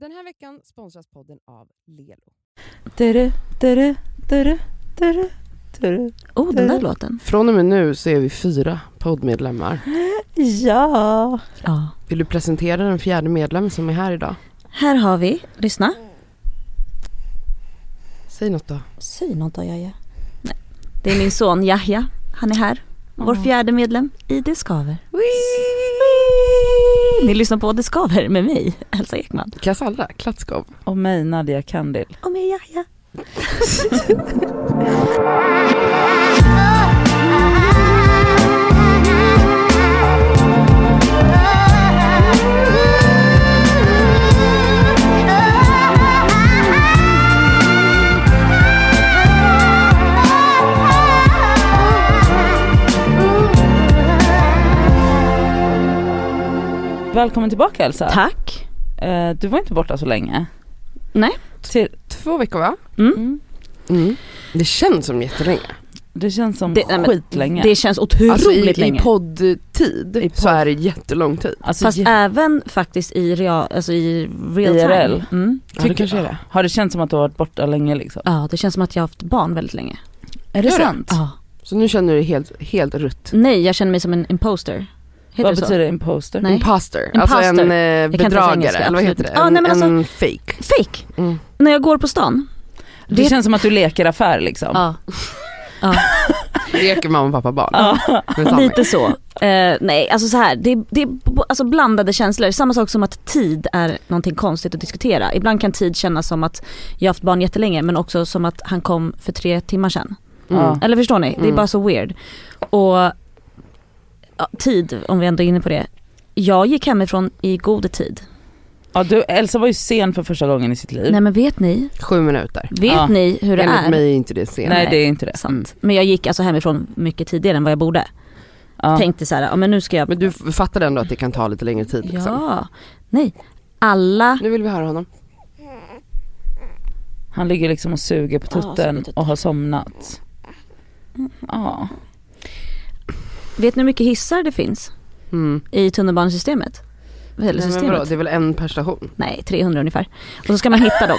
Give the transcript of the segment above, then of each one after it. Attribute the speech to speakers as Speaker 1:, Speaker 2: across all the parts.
Speaker 1: Den här veckan sponsras podden av Lelo.
Speaker 2: Dere, dere, dere, dere, dere.
Speaker 3: Oh, den där låten.
Speaker 4: Från och med nu så är vi fyra poddmedlemmar.
Speaker 2: Ja.
Speaker 3: Ja.
Speaker 4: Vill du presentera den fjärde medlem som är här idag?
Speaker 3: Här har vi, lyssna.
Speaker 4: Säg något då.
Speaker 2: Säg något då, Jaja.
Speaker 3: Det är min son Yahya. Han är här. Vår fjärde medlem i Det Skaver. Ni lyssnar på Det Skaver med mig, Elsa Ekman.
Speaker 4: Cassandra Klatskov.
Speaker 2: Och mig, Nadia Kandil.
Speaker 3: Och med Yahya.
Speaker 2: Välkommen tillbaka Elsa.
Speaker 3: Tack.
Speaker 2: Eh, du var inte borta så länge.
Speaker 3: Nej.
Speaker 2: Till,
Speaker 4: Två veckor va?
Speaker 3: Mm.
Speaker 4: Mm. Det känns som jättelänge.
Speaker 2: det känns som
Speaker 3: Det- nej, men-
Speaker 2: skitlänge.
Speaker 3: Det känns otroligt
Speaker 4: Alltså i, i
Speaker 3: länge.
Speaker 4: poddtid
Speaker 2: I podd.
Speaker 4: så är det jättelång tid.
Speaker 2: alltså,
Speaker 3: Fast
Speaker 2: je-
Speaker 3: även faktiskt i real, alltså i real
Speaker 2: IRL.
Speaker 3: time. Mm.
Speaker 4: Ja,
Speaker 2: tycker-
Speaker 4: det kanske är det.
Speaker 2: Har det känts som att du har varit borta länge liksom?
Speaker 3: Ja, det känns som att jag har haft barn väldigt länge.
Speaker 2: Är det
Speaker 4: Gör det?
Speaker 2: sant?
Speaker 3: Ja.
Speaker 4: Så nu känner du dig helt, helt rutt.
Speaker 3: Nej, jag känner mig som en imposter. Heter
Speaker 2: Vad
Speaker 3: det så?
Speaker 2: betyder imposter?
Speaker 3: Nej.
Speaker 4: Imposter. Alltså
Speaker 3: Imposter.
Speaker 4: en
Speaker 3: kan
Speaker 4: eh,
Speaker 3: inte ens
Speaker 4: bedragare,
Speaker 3: engelska,
Speaker 4: eller vad heter det?
Speaker 3: absolut. Ja, nej,
Speaker 4: en,
Speaker 3: men alltså-
Speaker 4: en fake.
Speaker 3: Fake!
Speaker 4: Mm.
Speaker 3: När jag går på stan.
Speaker 2: Det,
Speaker 3: Det-
Speaker 2: känns som att du leker affär liksom.
Speaker 3: Ja.
Speaker 4: Leker mamma och pappa barn. Med Sammy.
Speaker 3: Lite så. Eh, nej, alltså så här, det, det är b- alltså blandade känslor. Samma sak som att tid är någonting konstigt att diskutera. Ibland kan tid kännas som att jag har haft barn jättelänge men också som att han kom för tre timmar sedan.
Speaker 4: Mm.
Speaker 2: Ja.
Speaker 3: Eller förstår ni? Det är
Speaker 4: Mm.
Speaker 3: bara så weird. Och ja, tid, om vi ändå är inne på det. Jag gick hemifrån i god tid.
Speaker 2: Ja, du, Elsa var ju sen för första gången i sitt liv.
Speaker 3: Nej men vet ni?
Speaker 4: Sju minuter.
Speaker 3: Vet
Speaker 2: Ja.
Speaker 3: ni hur det
Speaker 4: Enligt
Speaker 3: är?
Speaker 4: mig är inte det sen.
Speaker 2: Nej, det är inte det.
Speaker 3: Sant. Men jag gick alltså hemifrån mycket tidigare än vad jag borde.
Speaker 2: Ja.
Speaker 3: Tänkte så här, ja men nu ska jag...
Speaker 4: Ah. Men du f- fattar ändå att det kan ta lite längre tid liksom.
Speaker 3: Ja. Nej. Alla
Speaker 4: Nu vill vi höra honom.
Speaker 2: Han ligger liksom och suger på
Speaker 3: Ja, suger
Speaker 2: tutten
Speaker 3: på tutten.
Speaker 2: och har somnat. Ja.
Speaker 3: Vet ni hur mycket hissar det finns
Speaker 4: Mm.
Speaker 3: i tunnelbanesystemet? Eller
Speaker 4: Nej, men vadå,
Speaker 3: systemet?
Speaker 4: det är väl en per station?
Speaker 3: Nej, 300 ungefär. Och så ska man hitta dem.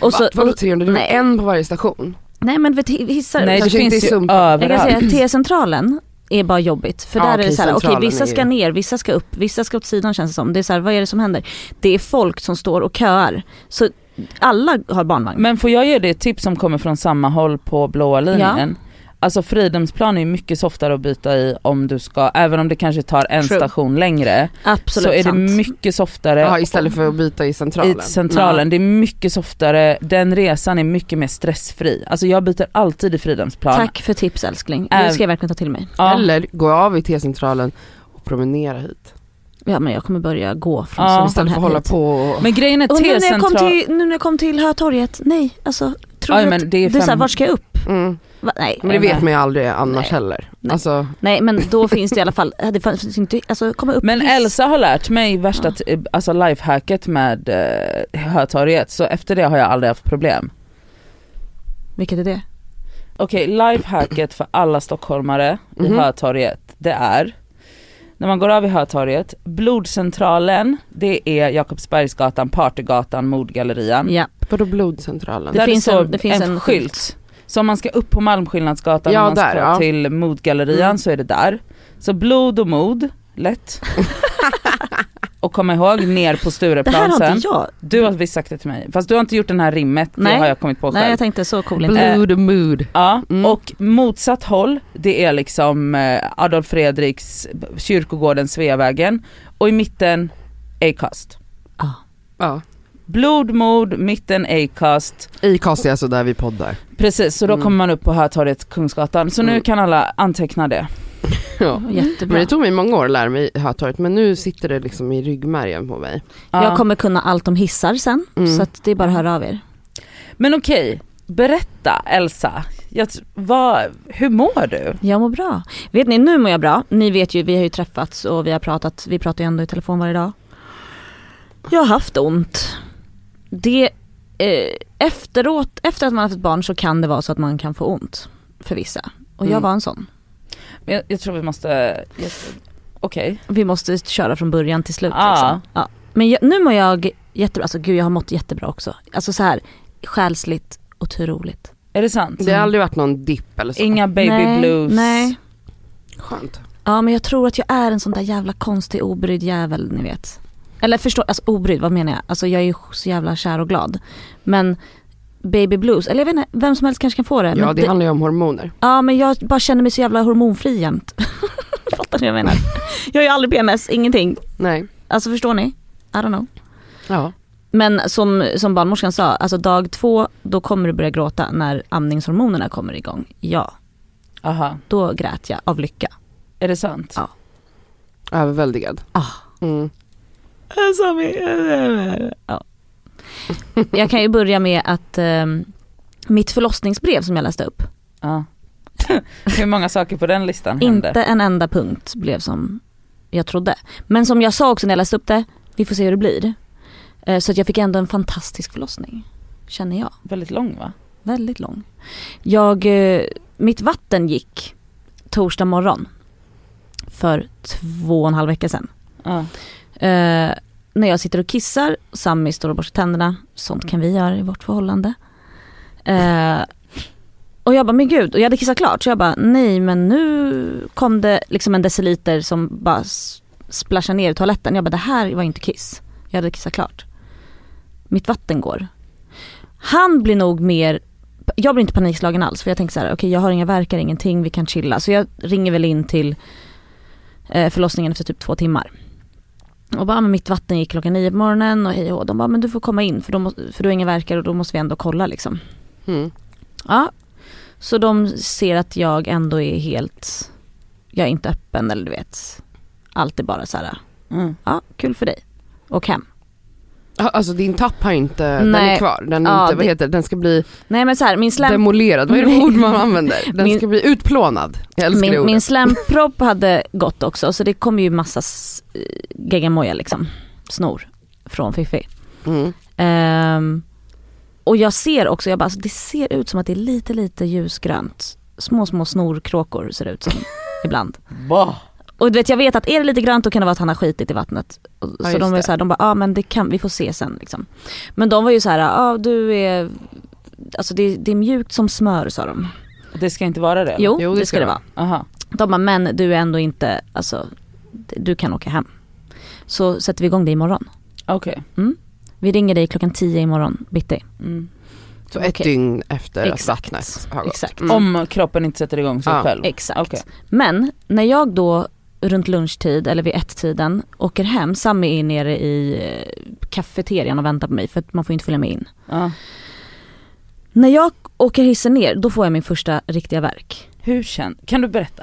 Speaker 3: Och så,
Speaker 4: Va, vadå
Speaker 3: och,
Speaker 4: 300? Det är väl
Speaker 3: nej.
Speaker 4: en på varje station?
Speaker 3: nej men vet, hissar,
Speaker 2: Nej det
Speaker 4: Kanske inte i
Speaker 2: finns ju
Speaker 4: sumpen.
Speaker 3: jag kan
Speaker 2: överallt.
Speaker 3: säga att T-centralen är bara jobbigt. För
Speaker 4: Ja,
Speaker 3: där är
Speaker 4: okej,
Speaker 3: det så här, okej
Speaker 4: centralen är
Speaker 3: vissa
Speaker 4: ju-
Speaker 3: ska ner, vissa ska upp, vissa ska åt sidan känns det som. Det är så här, vad är det som händer? Det är folk som står och köar. Så alla har barnvagn.
Speaker 2: Men får jag ge dig ett tips som kommer från samma håll på blåa linjen? Alltså Fridhemsplan är ju mycket softare att byta i om du ska, även om det kanske tar en
Speaker 3: True.
Speaker 2: station längre.
Speaker 3: Absolut
Speaker 2: så är
Speaker 3: sant.
Speaker 2: det mycket softare
Speaker 4: Ja, istället för att byta i centralen.
Speaker 2: i centralen. Det är mycket softare, den resan är mycket mer stressfri. Alltså jag byter alltid i Fridhemsplan.
Speaker 3: Tack för tips älskling.
Speaker 2: Äm-
Speaker 3: Det ska jag verkligen ta till mig.
Speaker 2: Ja.
Speaker 4: Eller gå av i T-centralen och promenera hit.
Speaker 3: Ja men jag kommer börja gå från
Speaker 2: Ja,
Speaker 3: ja,
Speaker 4: Istället för att hålla på och...
Speaker 2: Men grejen är
Speaker 3: Och nu när, jag kom
Speaker 2: T-central...
Speaker 3: till, nu när jag kom till Hötorget, nej alltså tror
Speaker 2: Aj,
Speaker 3: du
Speaker 2: men
Speaker 3: att,
Speaker 2: det
Speaker 3: det
Speaker 2: är
Speaker 3: är, så här,
Speaker 2: fem-
Speaker 3: vart ska jag upp?
Speaker 4: Mm.
Speaker 3: Va? Nej.
Speaker 4: Men det vet man ju aldrig annars
Speaker 3: Nej.
Speaker 4: heller.
Speaker 3: Nej.
Speaker 4: Alltså,
Speaker 3: nej men då finns det i alla fall, det finns inte, alltså komma upp
Speaker 2: Men
Speaker 3: hiss.
Speaker 2: Elsa har lärt mig värsta
Speaker 3: Ja.
Speaker 2: t- alltså lifehacket med eh, Hötorget så efter det har jag aldrig haft problem.
Speaker 3: Vilket är det?
Speaker 2: Okej, lifehacket för alla stockholmare i
Speaker 4: Mhm.
Speaker 2: Hötorget det är när man går av i Hötorget, blodcentralen det är Jakobsbergsgatan, Partygatan, Mordgallerian.
Speaker 3: Ja,
Speaker 4: vadå blodcentralen?
Speaker 3: Det-
Speaker 2: Där
Speaker 3: finns
Speaker 2: det står
Speaker 3: en- det finns en
Speaker 2: skylt. Så om man ska upp på Malmskillnadsgatan
Speaker 4: Ja,
Speaker 2: och man
Speaker 4: där,
Speaker 2: ska
Speaker 4: ja.
Speaker 2: till Mordgallerian
Speaker 3: Mm.
Speaker 2: så är det där. Så blod och mod, lätt. och kom ihåg, ner på
Speaker 3: det här
Speaker 2: Stureplan
Speaker 3: har
Speaker 2: sen.
Speaker 3: inte jag.
Speaker 2: Du har visst sagt det till mig, fast du har inte gjort den här rimmet, det
Speaker 3: Nej.
Speaker 2: har jag kommit på själv.
Speaker 3: Nej jag tänkte så cool inte.
Speaker 4: Blood and mood.
Speaker 2: Ja,
Speaker 4: Mm.
Speaker 2: och motsatt håll det är liksom eh, Adolf Fredriks, kyrkogården, Sveavägen och i mitten Acast.
Speaker 3: Ja.
Speaker 4: Ja.
Speaker 2: Blod, mord, mitten Acast.
Speaker 4: Acast är alltså där vi poddar.
Speaker 2: Precis, så då
Speaker 4: Mm.
Speaker 2: kommer man upp på Hötorget, Kungsgatan. Så nu
Speaker 4: Mm.
Speaker 2: kan alla anteckna det.
Speaker 4: Ja.
Speaker 3: Jättebra.
Speaker 4: Men det tog mig många år att lära mig Hötorget men nu sitter det liksom i ryggmärgen på mig.
Speaker 2: Ja.
Speaker 3: Jag kommer kunna allt om hissar sen
Speaker 4: Mm.
Speaker 3: så att det är bara att höra av er.
Speaker 2: Men okej, berätta Elsa. Jag, tr- vad, hur mår du?
Speaker 3: Jag mår bra. Vet ni, nu mår jag bra. Ni vet ju, vi har ju träffats och vi har pratat, vi pratar ju ändå i telefon varje dag. Jag har haft ont. Det, eh, efteråt, efter att man har haft ett barn så kan det vara så att man kan få ont för vissa. Och jag
Speaker 4: Mm.
Speaker 3: var en sån.
Speaker 2: Men Jag, jag tror vi måste, jag- okej.
Speaker 3: Vi måste köra från början till slut.
Speaker 2: Ah.
Speaker 3: Liksom. Ja. Men jag, nu mår jag jättebra, alltså gud jag har mått jättebra också. Alltså så här själsligt otroligt.
Speaker 2: Är det sant?
Speaker 4: Det har aldrig varit någon dipp eller så?
Speaker 2: Inga baby
Speaker 3: nej,
Speaker 2: blues.
Speaker 3: Nej.
Speaker 4: Skönt.
Speaker 3: Ja men jag tror att jag är en sån där jävla konstig obrydd jävel ni vet. Eller förstå, alltså obrydd vad menar jag? Alltså jag är ju så jävla kär och glad. Men baby blues, eller jag vet inte, vem som helst kanske kan få det.
Speaker 4: Ja
Speaker 3: men
Speaker 4: det handlar ju om hormoner.
Speaker 3: ja men jag bara känner mig så jävla hormonfri jämt. Fattar ni vad jag menar? Jag har ju aldrig PMS, ingenting.
Speaker 4: Nej.
Speaker 3: Alltså förstår ni? I don't know.
Speaker 4: Ja.
Speaker 3: Men som, som barnmorskan sa, alltså dag två då kommer du börja gråta när amningshormonerna kommer igång. Ja,
Speaker 2: Mm. Aha.
Speaker 3: då grät jag av lycka.
Speaker 2: Är det sant?
Speaker 3: Ja.
Speaker 4: Överväldigad.
Speaker 3: Ah.
Speaker 4: Mm.
Speaker 3: Ja. Jag kan ju börja med att ehm, mitt förlossningsbrev som jag läste upp,
Speaker 2: Ja. Hur många saker på den listan hände?
Speaker 3: inte en enda punkt blev som jag trodde. Men som jag sa också när jag läste upp det, vi får se hur det blir. Eh, Så att jag fick ändå en fantastisk förlossning, känner jag.
Speaker 2: Väldigt lång va?
Speaker 3: Väldigt lång. Jag, eh, mitt vatten gick torsdag morgon för två och en halv vecka sedan.
Speaker 2: Ja.
Speaker 3: Eh, när jag sitter och kissar, Sammy står och borstar tänderna, sånt kan vi göra i vårt förhållande. Eh, och jag bara, men gud, och jag hade kissat klart så jag bara, nej men nu kom det liksom en deciliter som bara s- splashade ner i toaletten. Jag bara, det här var inte kiss. Jag hade kissat klart. Mitt vatten går. Han blir nog mer, jag blir inte panikslagen alls för jag tänker så här, okej jag har inga verkar, ingenting, vi kan chilla. Så jag ringer väl in till eh, förlossningen efter typ två timmar. Och bara, "Ah, men mitt vatten gick klockan nio på morgonen och hej och hå. De bara, men du får komma in för, då må, för du har ingen verkar och då måste vi ändå kolla liksom.
Speaker 4: Mm.
Speaker 3: Ja. Så de ser att jag ändå är helt, jag är inte öppen eller du vet. Allt är bara så här,
Speaker 2: Mm.
Speaker 3: ja kul för dig. Och hem.
Speaker 4: Ja, Alltså din tapp har inte, den är
Speaker 3: Nej.
Speaker 4: kvar. Den, är
Speaker 3: Ja,
Speaker 4: inte, vad
Speaker 3: det-
Speaker 4: heter, det? den ska bli
Speaker 3: Nej men så här, min släm...
Speaker 4: demolerad, vad är det för ord man använder? Den
Speaker 3: Min-
Speaker 4: ska bli utplånad. Jag älskar det
Speaker 3: min,
Speaker 4: ordet.
Speaker 3: min slämpropp hade gått också så det kom ju massa s- eh, geggamoja liksom, snor från Fifi.
Speaker 4: Mm.
Speaker 3: Ehm, och jag ser också, jag bara, alltså, det ser ut som att det är lite lite ljusgrönt. Små små snorkråkor ser det ut som ibland.
Speaker 2: Bah.
Speaker 3: Och du vet jag vet att är det lite grönt då kan det vara att han har skitit i vattnet. Och-
Speaker 4: Ja,
Speaker 3: Så
Speaker 4: just
Speaker 3: de var
Speaker 4: det.
Speaker 3: ju såhär, de bara ja ah, men det kan, vi får se sen liksom. Men de var ju såhär, ja ah, du är, alltså det, det är mjukt som smör sa de.
Speaker 2: Det ska inte vara det?
Speaker 3: Jo,
Speaker 4: Jo,
Speaker 3: det ska det vara.
Speaker 2: Aha.
Speaker 3: De bara, men du är ändå inte, alltså du kan åka hem. Så sätter vi igång det imorgon.
Speaker 2: Okej.
Speaker 3: Vi ringer dig klockan 10 imorgon bitti.
Speaker 2: Mm.
Speaker 4: Så ett
Speaker 3: Okej.
Speaker 4: dygn efter att
Speaker 3: Exakt.
Speaker 4: vattnet har gått.
Speaker 3: Exakt.
Speaker 4: Mm.
Speaker 2: Om kroppen inte sätter igång sig
Speaker 4: Ja,
Speaker 2: själv?
Speaker 3: Exakt.
Speaker 2: Okej.
Speaker 3: Men när jag då runt lunchtid eller vid ett-tiden åker hem, Sammy är nere i eh, kafeterian och väntar på mig för att man får inte följa med in.
Speaker 2: Ja.
Speaker 3: När jag åker hissen ner då får jag min första riktiga verk.
Speaker 2: Hur känns, kan du berätta?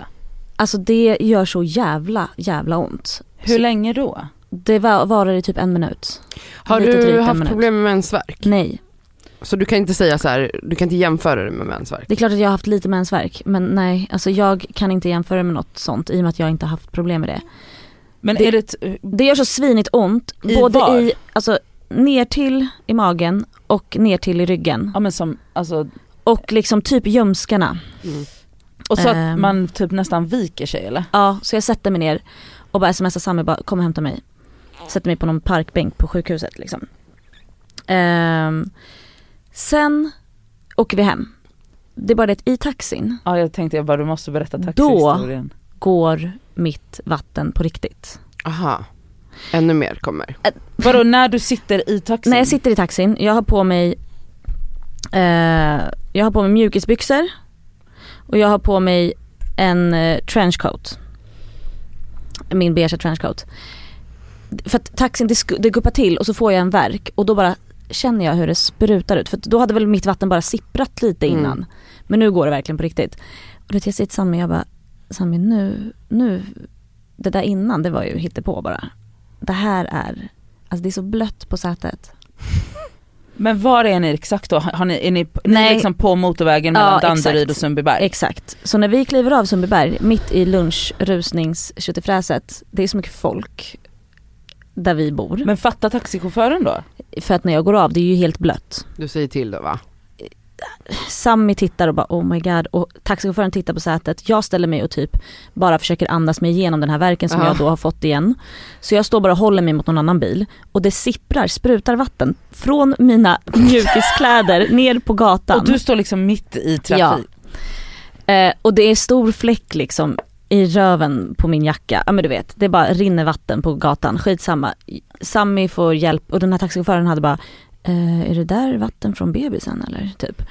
Speaker 3: Alltså det gör så jävla jävla ont.
Speaker 2: Hur
Speaker 3: Så-
Speaker 2: länge då?
Speaker 3: Det var, varar i typ en minut.
Speaker 4: Har
Speaker 3: Lite drygt
Speaker 4: du
Speaker 3: en
Speaker 4: haft
Speaker 3: minut.
Speaker 4: problem med mensvärk?
Speaker 3: Nej,
Speaker 4: Så du kan inte säga så här, du kan inte jämföra det med mensvärk?
Speaker 3: det är klart att jag har haft lite mensvärk men nej, alltså jag kan inte jämföra med något sånt i och med att jag inte har haft problem med det.
Speaker 2: Men
Speaker 3: Det-
Speaker 2: är det, ett-
Speaker 3: Det gör så svinigt ont,
Speaker 2: I
Speaker 3: både
Speaker 2: var?
Speaker 3: i, alltså ner till i magen och ner till i ryggen.
Speaker 2: ja men som, alltså,
Speaker 3: Och liksom typ ljumskarna.
Speaker 4: Mm.
Speaker 2: och så att
Speaker 3: Ehm.
Speaker 2: man typ nästan viker sig eller?
Speaker 3: Ja, så jag sätter mig ner och bara smsar Sammy bara kom och hämta mig. Sätter mig på någon parkbänk på sjukhuset liksom. Ehm, sen åker vi hem. Det är bara det att i taxin
Speaker 2: Ja jag tänkte jag bara du måste berätta
Speaker 3: Då-
Speaker 2: taxihistorien.
Speaker 3: går mitt vatten på riktigt.
Speaker 4: Aha. Ännu mer kommer.
Speaker 2: Vadå när du sitter i taxin?
Speaker 3: När jag sitter i taxin, jag har på mig eh, Jag har på mig mjukisbyxor och jag har på mig en eh, trenchcoat. Min beige trenchcoat. För att taxin, det, sku- det guppar till och så får jag en verk och då bara känner jag hur det sprutar ut. För att då hade väl mitt vatten bara sipprat lite
Speaker 4: Mm.
Speaker 3: innan. Men nu går det verkligen på riktigt. Och då jag säger till Sami, jag bara Sami nu, nu, det där innan det var ju hittepå bara. Det här är, alltså det är så blött på sätet.
Speaker 2: Men var är ni exakt då? Har ni, är ni, ni
Speaker 3: Nej.
Speaker 2: är liksom på motorvägen
Speaker 3: Ja,
Speaker 2: mellan Danderyd
Speaker 3: exakt.
Speaker 2: och Sundbyberg?
Speaker 3: Exakt. Så när vi kliver av Sundbyberg, mitt i lunchrusningsköttefräset, det är så mycket folk där vi bor.
Speaker 2: men fatta taxichauffören då?
Speaker 3: För att när jag går av, det är ju helt blött.
Speaker 4: Du säger till då va?
Speaker 3: Sammy tittar och bara oh my god och taxichauffören tittar på sätet. Jag ställer mig och typ bara försöker andas mig igenom den här verken som
Speaker 4: Ja.
Speaker 3: jag då har fått igen. Så jag står bara och håller mig mot någon annan bil och det sipprar, sprutar vatten från mina mjukiskläder ner på gatan.
Speaker 2: Och du står liksom mitt i trafik.
Speaker 3: Ja. Eh, och det är stor fläck liksom i röven på min jacka. Ja men du vet, det bara rinner vatten på gatan. Skitsamma. Sammy får hjälp och den här taxichauffören hade bara, eh, är det där vatten från bebisen eller? Typ.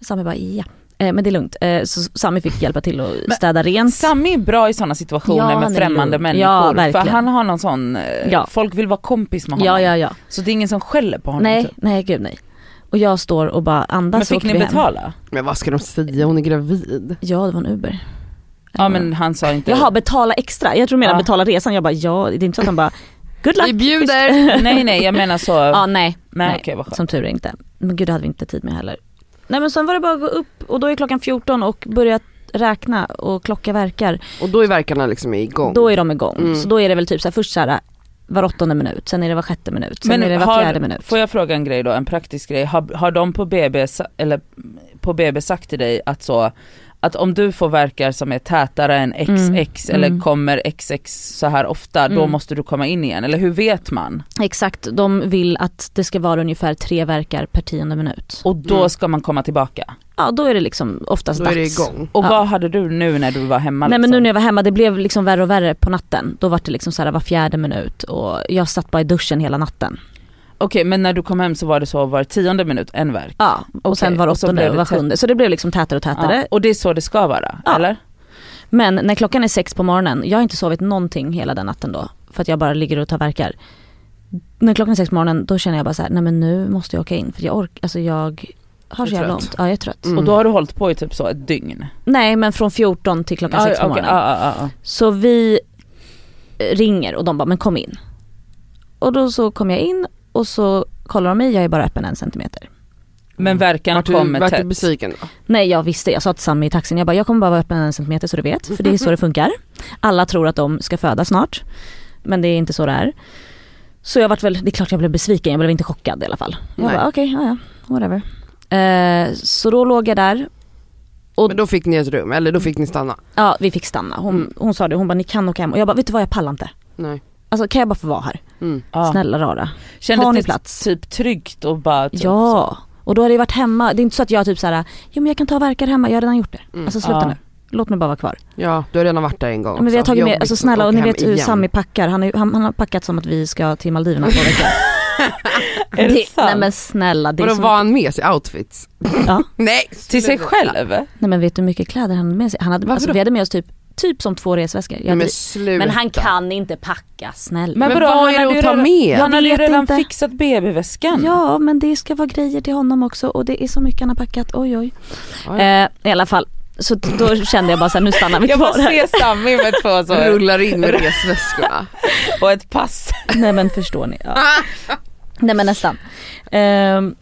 Speaker 3: Sammy bara, ja. Eh, men det är lugnt. Eh, så Sammy fick hjälpa till att
Speaker 2: Men
Speaker 3: städa rent.
Speaker 2: Sammy är bra i sådana situationer
Speaker 3: Ja, han
Speaker 2: med
Speaker 3: är
Speaker 2: främmande
Speaker 3: lugn.
Speaker 2: människor.
Speaker 3: Ja,
Speaker 2: för
Speaker 3: verkligen.
Speaker 2: han har någon sån, eh,
Speaker 3: Ja.
Speaker 2: folk vill vara kompis med honom.
Speaker 3: ja, ja, ja.
Speaker 2: Så det är ingen som skäller på honom.
Speaker 3: Nej,
Speaker 2: typ.
Speaker 3: nej gud nej. Och jag står och bara andas
Speaker 2: Men
Speaker 3: och
Speaker 2: fick
Speaker 3: åker
Speaker 2: ni
Speaker 3: vi hem.
Speaker 2: betala?
Speaker 4: Men vad ska de säga, hon är gravid.
Speaker 3: Ja det var en Uber.
Speaker 2: Ja men han sa inte
Speaker 3: Jaha, betala extra. Jag tror mer
Speaker 2: Ja.
Speaker 3: betala resan. Jag bara ja, det är inte så att han bara good luck.
Speaker 4: Vi bjuder!
Speaker 2: Nej nej jag menar så,
Speaker 3: Ja nej,
Speaker 2: nej,
Speaker 3: nej.
Speaker 2: okej vad skönt.
Speaker 3: Som tur är inte. Men gud det hade vi inte tid med heller. Nej men sen var det bara att gå upp och då är klockan 14 och börja räkna och klocka verkar.
Speaker 4: Och då är verkarna liksom igång.
Speaker 3: Då är de igång.
Speaker 4: Mm.
Speaker 3: Så då är det väl typ så här, först så här var åttonde minut, sen är det var sjätte minut, sen
Speaker 2: Men
Speaker 3: är det var
Speaker 2: har-
Speaker 3: fjärde minut.
Speaker 2: Får jag fråga en grej då, en praktisk grej. Har, har de på BB, sa- eller på BB sagt till dig att så, att om du får verkar som är tätare än XX
Speaker 3: Mm,
Speaker 2: eller
Speaker 3: mm.
Speaker 2: kommer XX så här ofta, då
Speaker 3: Mm.
Speaker 2: måste du komma in igen? Eller hur vet man?
Speaker 3: Exakt, de vill att det ska vara ungefär tre verkar per tionde minut.
Speaker 2: Och då
Speaker 4: Mm.
Speaker 2: ska man komma tillbaka?
Speaker 3: Ja då är det liksom oftast
Speaker 4: Då är det
Speaker 3: dags.
Speaker 4: igång.
Speaker 2: Och
Speaker 3: Ja.
Speaker 2: vad hade du nu när du var hemma?
Speaker 3: Nej men
Speaker 2: liksom?
Speaker 3: nu när jag var hemma, det blev liksom värre och värre på natten. Då var det liksom så här var fjärde minut och jag satt bara i duschen hela natten.
Speaker 2: Okej men när du kom hem så var det så var tionde minut, en verk?
Speaker 3: Ja, och sen var det
Speaker 2: och så
Speaker 3: åttonde
Speaker 2: blev
Speaker 3: och
Speaker 2: det
Speaker 3: var
Speaker 2: tätt.
Speaker 3: sjunde. Så det blev liksom tätare och tätare.
Speaker 2: Ja. Och det är så det ska vara?
Speaker 3: Ja.
Speaker 2: Eller?
Speaker 3: Men när klockan är sex på morgonen, jag har inte sovit någonting hela den natten då för att jag bara ligger och tar verkar. När klockan är sex på morgonen då känner jag bara så här, nej men nu måste jag åka in för jag orkar, alltså jag har så
Speaker 4: Jag är
Speaker 3: jävla
Speaker 4: trött.
Speaker 3: ont. Ja jag är trött.
Speaker 4: Mm.
Speaker 2: Och då har du hållit på i typ så ett dygn?
Speaker 3: Nej men från 14 till klockan sex på
Speaker 2: okej,
Speaker 3: morgonen.
Speaker 2: ja, ja, ja.
Speaker 3: Så vi eh, ringer och de bara, men kom in. Och då så kom jag in och så kollar de mig, jag är bara öppen en centimeter. Mm.
Speaker 2: Men verkarna
Speaker 4: Vart du,
Speaker 2: kommer
Speaker 4: vart du
Speaker 2: tätt?
Speaker 4: besviken då?
Speaker 3: Nej jag visste, jag sa till Sammy i taxin, jag bara jag kommer bara vara öppen en centimeter så du vet, för det är så det funkar. Alla tror att de ska föda snart, men det är inte så det är. Så jag vart väl, det är klart jag blev besviken, jag blev inte chockad i alla fall. Jag
Speaker 4: Nej.
Speaker 3: bara okej, ja ja, whatever.
Speaker 2: Mm.
Speaker 3: Eh, så då låg jag där, Och-
Speaker 4: Men då fick ni ett rum, eller då fick ni stanna?
Speaker 3: ja vi fick stanna. Hon,
Speaker 4: Mm.
Speaker 3: hon sa det, hon bara ni kan åka hem och jag bara vet du vad jag pallar inte.
Speaker 4: Nej.
Speaker 3: Alltså kan jag bara få vara här?
Speaker 4: Mm.
Speaker 2: Ja.
Speaker 3: Snälla rara. Har
Speaker 2: Kändes
Speaker 3: ni
Speaker 2: det
Speaker 3: plats?
Speaker 2: typ tryggt och bara typ så?
Speaker 3: Ja, och då hade jag varit hemma. Det är inte så att jag typ såhär, jo men jag kan ta och verkar hemma, jag har redan gjort det.
Speaker 4: Mm.
Speaker 3: Alltså sluta
Speaker 2: Ja.
Speaker 3: nu. Låt mig bara vara kvar.
Speaker 4: Ja, du har redan varit där en gång
Speaker 3: Ja, men vi har
Speaker 4: också.
Speaker 3: tagit med,
Speaker 4: Jobbigt
Speaker 3: alltså
Speaker 4: att
Speaker 3: snälla och
Speaker 4: åka
Speaker 3: ni
Speaker 4: hem
Speaker 3: vet hur
Speaker 4: igen.
Speaker 3: Sami packar. Han, är, han, han har packat som att vi ska till Maldiverna på veckan.
Speaker 2: Är det sant?
Speaker 3: Nej men snälla. Det är
Speaker 4: Vadå
Speaker 3: så
Speaker 4: var han med sig outfits?
Speaker 3: mycket, ja.
Speaker 4: Nej!
Speaker 2: Till sig
Speaker 4: sluta.
Speaker 2: själv?
Speaker 3: Nej men vet du hur mycket kläder han hade med sig? Han hade,
Speaker 4: Varför
Speaker 3: alltså,
Speaker 4: då?
Speaker 3: vi hade med oss typ, typ som två resväskor. Jag
Speaker 4: Nej, men
Speaker 3: hade-
Speaker 4: sluta.
Speaker 3: men han kan inte packa, snälla.
Speaker 2: Men
Speaker 4: Men
Speaker 2: vadå, han
Speaker 4: vad är
Speaker 2: hade
Speaker 4: det
Speaker 2: ju
Speaker 4: att ta
Speaker 2: redan-
Speaker 4: med?
Speaker 2: Han hade ju
Speaker 3: vet
Speaker 2: redan
Speaker 3: inte.
Speaker 2: fixat BB-väskan.
Speaker 3: Ja men det ska vara grejer till honom också och det är så mycket han har packat, oj oj.
Speaker 4: Oj.
Speaker 3: Eh, I alla fall, så t- då kände jag bara såhär nu stannar vi
Speaker 2: Jag
Speaker 3: kvar
Speaker 2: bara
Speaker 3: här.
Speaker 2: ser Sammy med två så
Speaker 4: Rullar in med resväskorna.
Speaker 2: och ett pass.
Speaker 3: Nej men förstår ni. Ja. Nej men nästan. Ehm,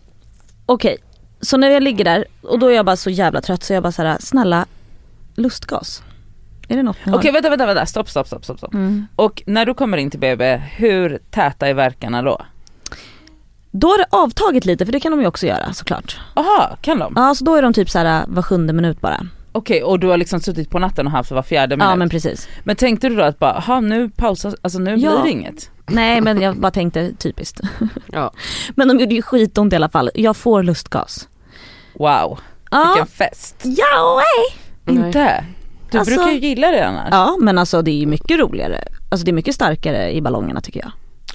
Speaker 3: Okej, så när jag ligger där och då är jag bara så jävla trött så jag bara såhär, snälla lustgas. Är det något ni har?
Speaker 2: Okej vänta vänta vänta, stopp stopp stopp stopp. stopp.
Speaker 3: Mm.
Speaker 2: Och när du kommer in till BB, hur täta är verkarna då?
Speaker 3: Då har det avtagit lite för det kan de ju också göra såklart.
Speaker 2: Aha, kan de?
Speaker 3: Ja så då är de typ såhär var sjunde minut bara.
Speaker 2: Okej och du har liksom suttit på natten och haft var fjärde minut.
Speaker 3: Ja men
Speaker 2: men...
Speaker 3: precis.
Speaker 2: tänkte du då att bara, aha, nu pausas, alltså nu blir
Speaker 3: Ja.
Speaker 2: det inget?
Speaker 3: Nej men jag bara tänkte typiskt.
Speaker 4: Ja.
Speaker 3: Men de gjorde ju skitont i alla fall. Jag får lustgas.
Speaker 2: Wow,
Speaker 3: Ja,
Speaker 2: vilken fest.
Speaker 3: ja hej.
Speaker 4: Nej.
Speaker 2: Inte? Du
Speaker 3: Alltså-
Speaker 2: brukar ju gilla det annars.
Speaker 3: Ja men alltså det är ju mycket roligare. Alltså det är mycket starkare i ballongerna tycker jag.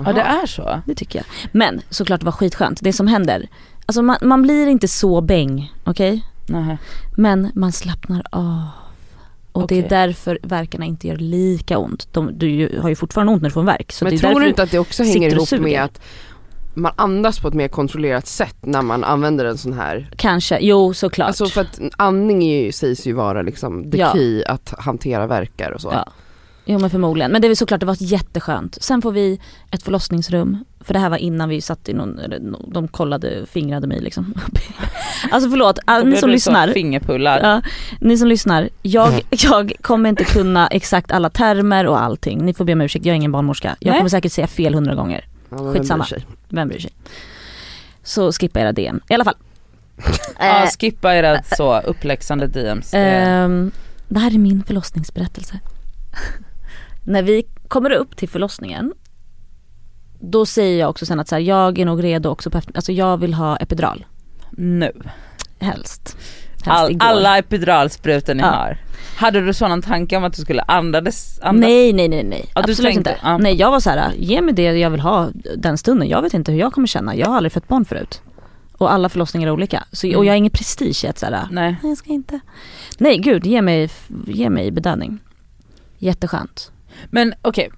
Speaker 2: ja det är så.
Speaker 3: Det tycker jag. Men såklart det var skitskönt. Det som händer, alltså man, man blir inte så bäng, okej?
Speaker 2: Nähä.
Speaker 3: Men man slappnar av. Och det
Speaker 2: Okej.
Speaker 3: är därför verkarna inte gör lika ont. De, du ju- har ju fortfarande ont när du får en värk. Så
Speaker 4: men
Speaker 3: det är
Speaker 4: tror
Speaker 3: därför
Speaker 4: du inte att det också
Speaker 3: sitter
Speaker 4: hänger
Speaker 3: och
Speaker 4: ihop
Speaker 3: suger?
Speaker 4: med att man andas på ett mer kontrollerat sätt när man använder en sån här?
Speaker 3: Kanske, jo såklart.
Speaker 4: Alltså för att andning är ju, sägs ju vara liksom the
Speaker 3: Ja.
Speaker 4: key att hantera verkar och så.
Speaker 3: Ja. Jo men förmodligen. Men det är såklart, det var jätteskönt. Sen får vi ett förlossningsrum. För det här var innan vi satt i någon, eller no- de kollade, fingrade mig liksom. alltså förlåt, alla
Speaker 2: Då
Speaker 3: ni
Speaker 2: blev
Speaker 3: som
Speaker 2: du
Speaker 3: lyssnar.
Speaker 2: Så fingerpullar.
Speaker 3: Ja, ni som lyssnar, jag,
Speaker 2: Mm.
Speaker 3: jag kommer inte kunna exakt alla termer och allting. Ni får be om ursäkt, jag är ingen barnmorska. Jag
Speaker 2: Nej.
Speaker 3: kommer säkert säga fel hundra gånger.
Speaker 4: Ja, men vem bryr
Speaker 3: Skitsamma.
Speaker 4: sig?
Speaker 3: Vem bryr sig? Så skippa era DM. I alla fall.
Speaker 2: Ja,
Speaker 3: Eh,
Speaker 2: skippa era så uppläxande eh, DMs. Det-
Speaker 3: Ehm, det här är min förlossningsberättelse. När vi kommer upp till förlossningen då säger jag också sen att så här, jag är nog redo också på efter- alltså jag vill ha epidural
Speaker 2: nu.
Speaker 3: helst. helst
Speaker 2: All,
Speaker 3: igår.
Speaker 2: alla epiduralsprutor ni
Speaker 3: Ja.
Speaker 2: har. Hade du sådan tanke om att du skulle andades, andas?
Speaker 3: Nej nej nej nej,
Speaker 2: Ja, du
Speaker 3: absolut
Speaker 2: tänkte-
Speaker 3: inte.
Speaker 2: ja.
Speaker 3: Nej jag var så här, ge mig det jag vill ha den stunden, jag vet inte hur jag kommer känna, jag har aldrig fött barn förut. Och alla förlossningar är olika, så,
Speaker 2: Mm.
Speaker 3: och jag har ingen prestige i att så här,
Speaker 2: Nej.
Speaker 3: nej jag ska inte. Nej gud, ge mig, ge mig bedövning. Jätteskönt.
Speaker 2: Men okej,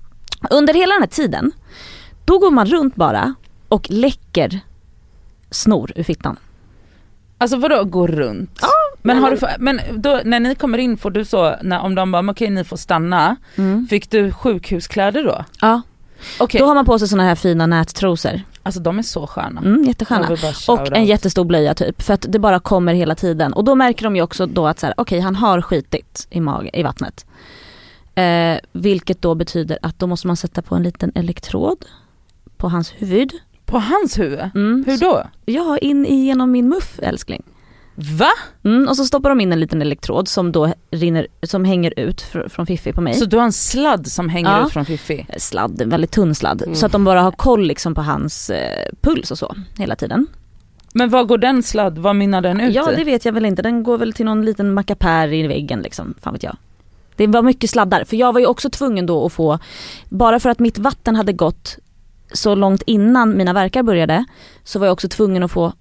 Speaker 3: Under hela den här tiden, då går man runt bara och läcker snor ur fittan.
Speaker 2: alltså vadå gå runt? men har du, få- men då, när ni kommer in får du så, när, om de bara "Men okej ni får stanna, fick du sjukhuskläder då?
Speaker 3: Ja.
Speaker 2: Mm. Okej,
Speaker 3: Då har man på sig såna här fina nättrosor.
Speaker 2: alltså de är så sköna.
Speaker 3: Mm,
Speaker 2: Jag
Speaker 3: jättesköna.
Speaker 2: vill bara shout
Speaker 3: Och en
Speaker 2: out.
Speaker 3: jättestor blöja typ, för att det bara kommer hela tiden. Och då märker de ju också då att så här, okej han har skitit i, mag- i vattnet. Eh, vilket då betyder att då måste man sätta på en liten elektrod på hans huvud.
Speaker 2: På hans huvud?
Speaker 3: Mm.
Speaker 2: Hur då?
Speaker 3: Ja, in i- genom min muff älskling.
Speaker 2: Va?
Speaker 3: Mm, och så stoppar de in en liten elektrod som då rinner, som hänger ut fr- från Fiffi på mig.
Speaker 2: Så du har en sladd som hänger
Speaker 3: Ja.
Speaker 2: ut från Fifi?
Speaker 3: sladd, en väldigt tunn sladd.
Speaker 4: Mm.
Speaker 3: Så att de bara har koll liksom på hans eh, puls och så hela tiden.
Speaker 2: Men vad går den sladd, vad mynnar den ut
Speaker 3: Ja
Speaker 2: i?
Speaker 3: det vet jag väl inte, den går väl till någon liten mackapär i väggen liksom, fan vet jag. Det var mycket sladdar, för jag var ju också tvungen då att få, bara för att mitt vatten hade gått så långt innan mina verkar började, så var jag också tvungen att få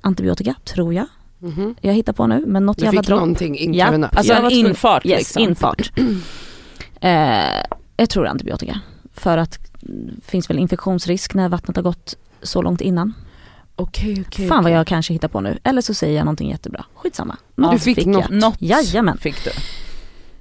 Speaker 3: antibiotika, tror jag.
Speaker 4: Mhm.
Speaker 3: Jag hittar på nu, men något
Speaker 4: Du
Speaker 3: jävla
Speaker 4: fick
Speaker 3: dropp.
Speaker 4: någonting intravenöst.
Speaker 2: Alltså
Speaker 3: Jag var
Speaker 2: en
Speaker 3: tvungen-
Speaker 2: infart
Speaker 3: Yes,
Speaker 2: liksom?
Speaker 3: infart. Eh, jag tror antibiotika. För att det finns väl infektionsrisk när vattnet har gått så långt innan.
Speaker 2: Okej okej.
Speaker 3: Fan vad
Speaker 2: okej.
Speaker 3: jag kanske hittar på nu. Eller så säger jag någonting jättebra. Skitsamma. Något
Speaker 4: Du fick något.
Speaker 3: jag.
Speaker 2: Något
Speaker 3: Jajamän.
Speaker 2: fick du.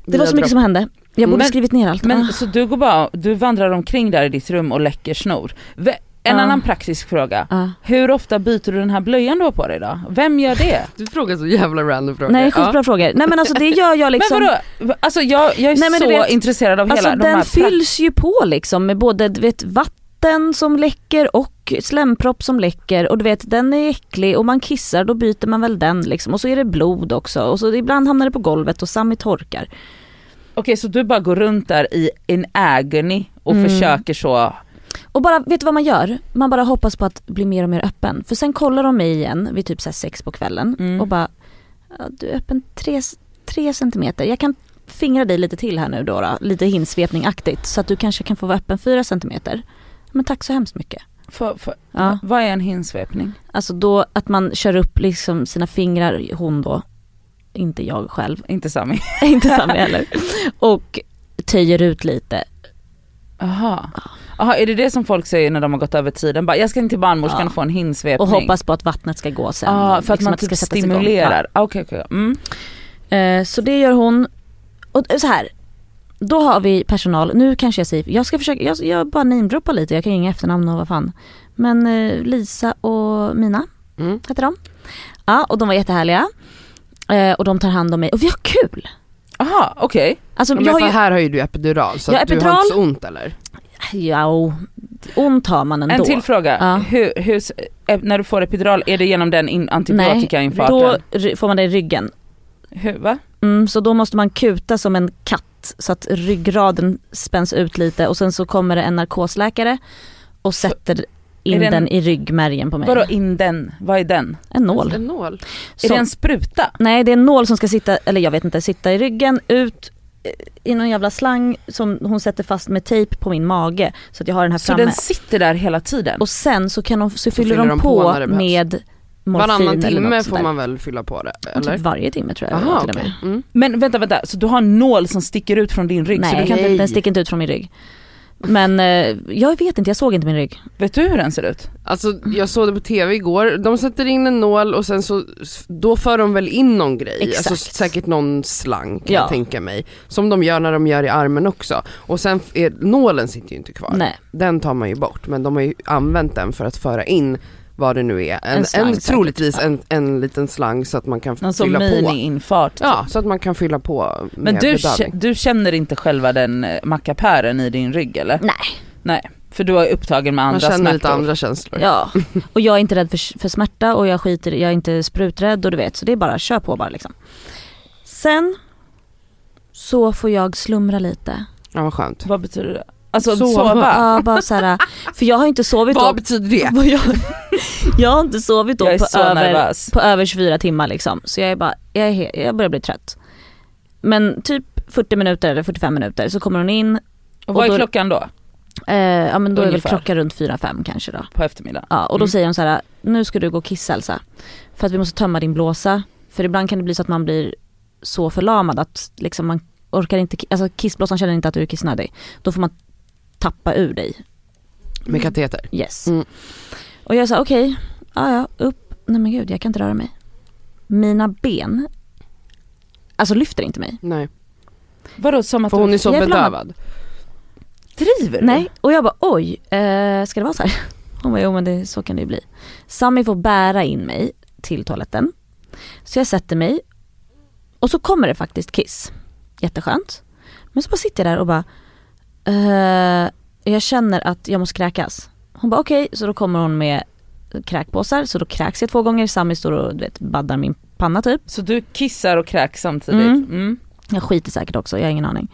Speaker 3: Det var så mycket som hände. Jag borde
Speaker 2: Men-
Speaker 3: skrivit ner allt.
Speaker 2: Men
Speaker 3: Ah.
Speaker 2: så du går bara, du vandrar omkring där i ditt rum och läcker snor. Ve- en
Speaker 3: Ja.
Speaker 2: annan praktisk fråga.
Speaker 3: Ja.
Speaker 2: Hur ofta byter du den här blöjan du har på dig då? Vem gör det?
Speaker 4: Du frågar så jävla random frågor.
Speaker 3: Nej skitbra frågor. Nej men alltså det gör jag liksom.
Speaker 2: Men vadå? Alltså jag, jag är
Speaker 3: Nej, men
Speaker 2: så
Speaker 3: du vet-
Speaker 2: intresserad av
Speaker 3: Alltså
Speaker 2: hela de
Speaker 3: den
Speaker 2: här pra-
Speaker 3: fylls ju på liksom med både du vet, vatten som läcker och slempropp som läcker och du vet den är äcklig och man kissar då byter man väl den liksom och så är det blod också och så ibland hamnar det på golvet och Sami torkar.
Speaker 2: Okej så du bara går runt där i en agony och
Speaker 3: Mm.
Speaker 2: försöker så,
Speaker 3: Och bara, vet du vad man gör? Man bara hoppas på att bli mer och mer öppen. För sen kollar de mig igen vid typ så här sex på kvällen
Speaker 2: Mm.
Speaker 3: och bara, "Ja, du är öppen tre, tre centimeter. Jag kan fingra dig lite till här nu då, då lite hinsvepningaktigt så att du kanske kan få vara öppen fyra centimeter. Men tack så hemskt mycket.
Speaker 2: för, för,
Speaker 3: Ja.
Speaker 2: vad är en hinsvepning?
Speaker 3: Alltså då att man kör upp liksom sina fingrar, hon då, inte jag själv,
Speaker 2: Inte Sami.
Speaker 3: inte Sami heller. Och töjer ut lite.
Speaker 2: Jaha. Jaha är det det som folk säger när de har gått över tiden? Bara, jag ska in till barnmorskan
Speaker 3: Ja.
Speaker 2: och få en hinsvepning.
Speaker 3: Och hoppas på att vattnet ska gå sen.
Speaker 2: ah,
Speaker 3: och
Speaker 2: för att
Speaker 3: liksom
Speaker 2: man
Speaker 3: det ska
Speaker 2: typ
Speaker 3: sättas igång. Ja.
Speaker 2: stimulerar. Ah, Okej okej. Mm.
Speaker 3: Eh, Så det gör hon. Och eh, så här. Då har vi personal, nu kanske jag säger, jag ska försöka, jag, jag bara namedroppar lite, jag kan ju inga efternamn och vad fan. Men eh, Lisa och Mina
Speaker 4: Mm.
Speaker 3: heter de. Ja, och de var jättehärliga. Eh, och de tar hand om mig och vi har kul.
Speaker 2: Aha, okej.
Speaker 3: Alltså
Speaker 4: Ja, men
Speaker 3: jag har
Speaker 4: för
Speaker 3: ju,
Speaker 4: här har ju du epidural så
Speaker 3: Jag har
Speaker 4: att du har
Speaker 3: epidural.
Speaker 4: inte så ont eller?
Speaker 3: ja, ont har man ändå.
Speaker 2: En till fråga.
Speaker 3: Ja.
Speaker 2: Hur, hur, s- eh, när du får epidural, är det genom den in, antibiotikainfarten?
Speaker 3: då ry- får man det i ryggen.
Speaker 2: Hur, va?
Speaker 3: Mm, så då måste man kuta som en katt så att ryggraden spänns ut lite och sen så kommer det en narkosläkare och sätter in
Speaker 2: det en-
Speaker 3: den i ryggmärgen på mig.
Speaker 2: Vadå in den? Vad är den?
Speaker 3: En nål.
Speaker 4: En nål.
Speaker 3: Så,
Speaker 2: Är det en spruta?
Speaker 3: Nej det är en nål som ska sitta, eller jag vet inte, sitta i ryggen, ut eh, i någon jävla slang som hon sätter fast med tejp på min mage så att jag har den här
Speaker 2: Så
Speaker 3: framme.
Speaker 2: den sitter där hela tiden?
Speaker 3: Och sen så, kan de, så, fyller
Speaker 4: fyller
Speaker 3: de,
Speaker 4: de på
Speaker 3: på,
Speaker 4: när det behövs.
Speaker 3: med morfin
Speaker 4: Varannan
Speaker 3: eller
Speaker 4: timme
Speaker 3: något sånt
Speaker 4: får
Speaker 3: där.
Speaker 4: man väl fylla på det
Speaker 3: Ja,
Speaker 4: eller?
Speaker 3: Typ varje timme tror jag det var
Speaker 4: Aha,
Speaker 3: till och med.
Speaker 4: okej. Mm.
Speaker 2: Men vänta, vänta, så du har en nål som sticker ut från din rygg? Så
Speaker 3: Nej,
Speaker 2: du kan inte,
Speaker 4: Nej.
Speaker 3: den sticker inte ut från min rygg. Men eh, jag vet inte, jag såg inte min rygg.
Speaker 2: vet du hur den ser ut?
Speaker 4: Alltså jag såg det på tv igår, de sätter in en nål och sen så, då för de väl in någon grej,
Speaker 3: Exakt.
Speaker 4: alltså säkert någon slang kan
Speaker 3: Ja.
Speaker 4: jag tänka mig. Som de gör när de gör i armen också. Och sen är, nålen sitter ju inte kvar,
Speaker 3: Nej.
Speaker 4: den tar man ju bort men de har ju använt den för att föra in vad det nu är, en,
Speaker 3: En
Speaker 4: en,
Speaker 3: slang säkert,
Speaker 4: troligtvis en, en liten slang så att man kan
Speaker 2: Någon sån
Speaker 4: fylla på.
Speaker 2: mini-infart? typ.
Speaker 4: Ja, så att man kan fylla på med
Speaker 2: Men du,
Speaker 4: bedövning.
Speaker 2: kä- du känner inte själva den eh, mackapären i din rygg eller?
Speaker 3: Nej.
Speaker 2: Nej. För du är upptagen med
Speaker 4: Man
Speaker 2: andra
Speaker 4: känner
Speaker 2: smärtor.
Speaker 4: lite andra känslor.
Speaker 3: Ja, och jag är inte rädd för, för smärta och jag skiter jag är inte spruträdd och du vet så det är bara kör på bara liksom. Sen så får jag slumra lite.
Speaker 4: Ja, vad skönt.
Speaker 2: Vad betyder det? Alltså
Speaker 4: Sova.
Speaker 2: sova.
Speaker 3: Ja, bara så här, för jag har inte sovit då.
Speaker 4: Vad betyder det?
Speaker 3: Vad jag, jag har inte sovit då
Speaker 2: Jag är
Speaker 3: på
Speaker 2: så
Speaker 3: över,
Speaker 2: nervös.
Speaker 3: på över 24 timmar liksom. Så jag är bara, jag, är, he- jag börjar bli trött. Men typ 40 minuter eller 45 minuter så kommer hon in.
Speaker 2: Och vad
Speaker 3: och då-
Speaker 2: är klockan då?
Speaker 3: Eh, ja men då är väl
Speaker 2: Ungefär.
Speaker 3: klockan runt 4-5 kanske då.
Speaker 2: På eftermiddagen?
Speaker 3: Ja, och då
Speaker 2: Mm.
Speaker 3: säger hon så här, nu ska du gå och kissa Elsa. För att vi måste tömma din blåsa. För ibland kan det bli så att man blir så förlamad att liksom man orkar inte, ki- alltså kissblåsan känner inte att du är kissnödig. Då får man tappa ur dig.
Speaker 4: Med kateter.
Speaker 3: Yes.
Speaker 4: Mm.
Speaker 3: Och jag sa okej, ja ja, upp, nej men gud jag kan inte röra mig. Mina ben, alltså lyfter inte mig.
Speaker 4: Nej.
Speaker 2: Vadå som att
Speaker 4: För
Speaker 2: du
Speaker 4: hon är så
Speaker 3: Jag är förlamad.
Speaker 4: bedövad.
Speaker 2: driver?
Speaker 3: Nej, och jag bara oj, eh, ska det vara så här? Hon bara jo men det, så kan det ju bli. Sami får bära in mig till toaletten. Så jag sätter mig och så kommer det faktiskt kiss. Jätteskönt. Men så bara sitter jag där och bara, eh, jag känner att jag måste kräkas. Hon bara okej, så då kommer hon med kräkpåsar så då kräks jag två gånger. Sami står och du vet, baddar min panna typ.
Speaker 2: Så du kissar och kräks samtidigt?
Speaker 3: Mm.
Speaker 2: Mm.
Speaker 3: Jag skiter säkert också, jag har ingen aning.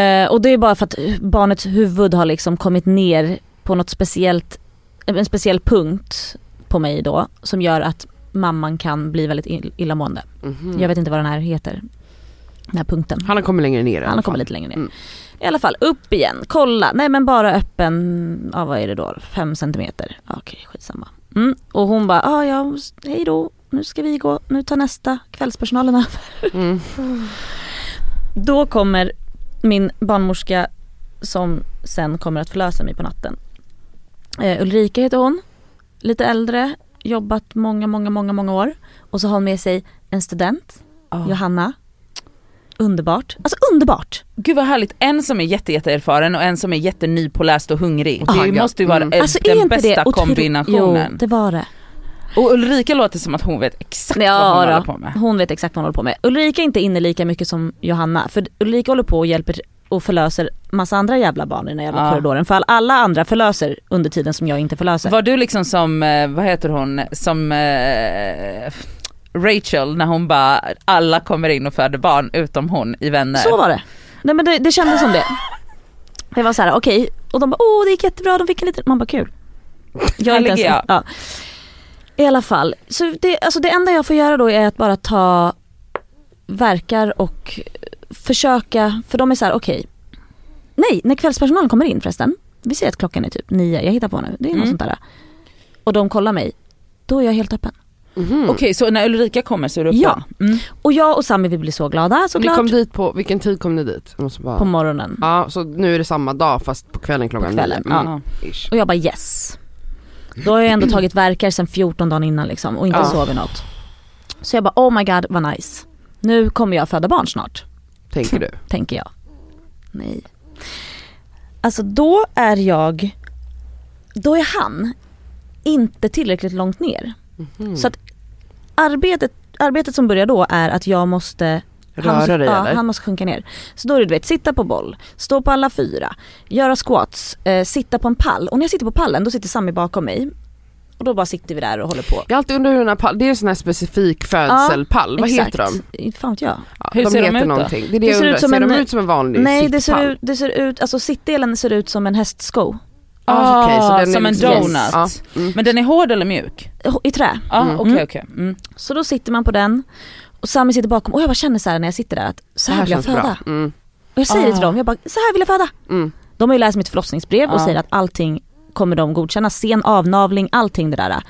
Speaker 3: Eh, och det är bara för att barnets huvud har liksom kommit ner på något speciellt, en speciell punkt på mig då som gör att mamman kan bli väldigt ill- illamående.
Speaker 4: Mhm.
Speaker 3: Jag vet inte vad den här heter, den här punkten.
Speaker 4: Han har kommit längre ner i
Speaker 3: Han
Speaker 4: alla
Speaker 3: har kommit
Speaker 4: fall.
Speaker 3: lite längre ner.
Speaker 4: Mm.
Speaker 3: I alla fall, upp igen, kolla. Nej men bara öppen, ja vad är det då, 5 centimeter. Ja, Okej, skitsamma. Mm. Och hon bara, ah, ja hej då, nu ska vi gå, nu tar nästa, kvällspersonalen över.
Speaker 4: Mm.
Speaker 3: Då kommer min barnmorska som sen kommer att förlösa mig på natten. Eh, Ulrika heter hon, lite äldre, jobbat många, många, många, många år. Och så har hon med sig en student,
Speaker 2: Ja.
Speaker 3: Johanna. Underbart. Alltså underbart!
Speaker 2: Gud vad härligt, en som är jätte, jätteerfaren och en som är jätteny påläst och hungrig.
Speaker 4: Och
Speaker 2: det
Speaker 4: taggad.
Speaker 2: måste ju vara
Speaker 4: Mm.
Speaker 2: eh,
Speaker 3: Alltså är
Speaker 2: den
Speaker 3: inte
Speaker 2: bästa
Speaker 3: det otro-
Speaker 2: kombinationen.
Speaker 3: Jo, det var det.
Speaker 2: Och Ulrika låter som att hon vet exakt
Speaker 3: Ja,
Speaker 2: vad hon
Speaker 3: då.
Speaker 2: håller på med.
Speaker 3: Hon vet exakt vad hon håller på med. Ulrika är inte inne lika mycket som Johanna. För Ulrika håller på och hjälper och förlöser massa andra jävla barn i den här jävla
Speaker 2: Ja.
Speaker 3: korridoren. För all- alla andra förlöser under tiden som jag inte förlöser.
Speaker 2: Var du liksom som, eh, vad heter hon, som eh, Rachel när hon bara, alla kommer in och föder barn utom hon i Vänner.
Speaker 3: Så var det. Nej men det, det kändes som det. Det var så här, okej. Och de bara, åh det gick jättebra, de fick en liten... Man bara, kul. Jag är inte
Speaker 2: Här ligger
Speaker 3: ens- Ja. I alla fall, så det, alltså det enda jag får göra då är att bara ta verkar och försöka, för de är så här, okej. Nej, när kvällspersonalen kommer in förresten. Vi ser att klockan är typ nio, jag hittar på nu. Det är något
Speaker 2: Mm.
Speaker 3: sånt där. Och de kollar mig. Då är jag helt öppen.
Speaker 4: Mhm.
Speaker 2: Okej så när Ulrika kommer så är du uppe?
Speaker 3: Ja.
Speaker 2: Mm.
Speaker 3: Och jag och Sami vi blir så glada
Speaker 4: Ni
Speaker 3: såklart.
Speaker 4: kom dit på, vilken tid kom ni dit? Jag måste bara...
Speaker 3: På morgonen.
Speaker 4: Ja, så nu är det samma dag fast på kvällen klockan
Speaker 3: På kvällen,
Speaker 4: nio. Mm.
Speaker 2: ja.
Speaker 4: Ish.
Speaker 3: Och jag bara yes. Då har jag ändå tagit verkar sen 14 dagar innan liksom och inte
Speaker 4: Ja.
Speaker 3: sovit något. Så jag bara oh my god vad nice. Nu kommer jag föda barn snart,
Speaker 4: Tänker du?
Speaker 3: tänker jag. Nej. Alltså då är jag, då är han inte tillräckligt långt ner.
Speaker 4: Mhm.
Speaker 3: Så att arbetet, arbetet som börjar då är att jag måste han måste,
Speaker 4: Röra dig
Speaker 3: ja,
Speaker 4: eller?
Speaker 3: han måste sjunka ner. Så då är det du vet, sitta på boll, stå på alla fyra, göra squats, eh, sitta på en pall. Och när jag sitter på pallen då sitter Sami bakom mig. Och då bara sitter vi där och håller på.
Speaker 4: Jag har alltid undrat hur den här pallen, det är en sån här specifik födselpall, vad heter de?
Speaker 3: Inte Fan vet jag.
Speaker 4: Ja,
Speaker 2: Hur
Speaker 4: de
Speaker 2: ser de
Speaker 4: heter
Speaker 2: ut då?
Speaker 4: någonting. Det är det, jag
Speaker 3: ser ut
Speaker 4: undrar,
Speaker 3: som
Speaker 4: ser
Speaker 3: en-
Speaker 4: de ut som en vanlig
Speaker 3: Nej det
Speaker 4: sittpall?
Speaker 3: ser, ut, det ser ut, alltså sittdelen ser ut som en hästsko.
Speaker 4: Ah, okej, så den är
Speaker 2: som en
Speaker 4: liksom-
Speaker 2: donut.
Speaker 4: Yes. Ja, mm.
Speaker 2: Men den är hård eller mjuk?
Speaker 3: H- I trä.
Speaker 2: Ja
Speaker 4: Mm.
Speaker 2: okej okej. Mm.
Speaker 3: Så då sitter man på den. Och Sami sitter bakom och jag bara känner så här när jag sitter där att så
Speaker 4: Det
Speaker 3: här,
Speaker 4: här
Speaker 3: vill jag
Speaker 4: känns
Speaker 3: föda.
Speaker 4: bra. Mm.
Speaker 3: Och jag säger det till
Speaker 2: Ah.
Speaker 3: dem, jag bara så här vill jag föda.
Speaker 4: Mm.
Speaker 3: De har ju läst mitt förlossningsbrev och
Speaker 2: Ja.
Speaker 3: säger att allting kommer de godkänna, sen avnavling, allting det där.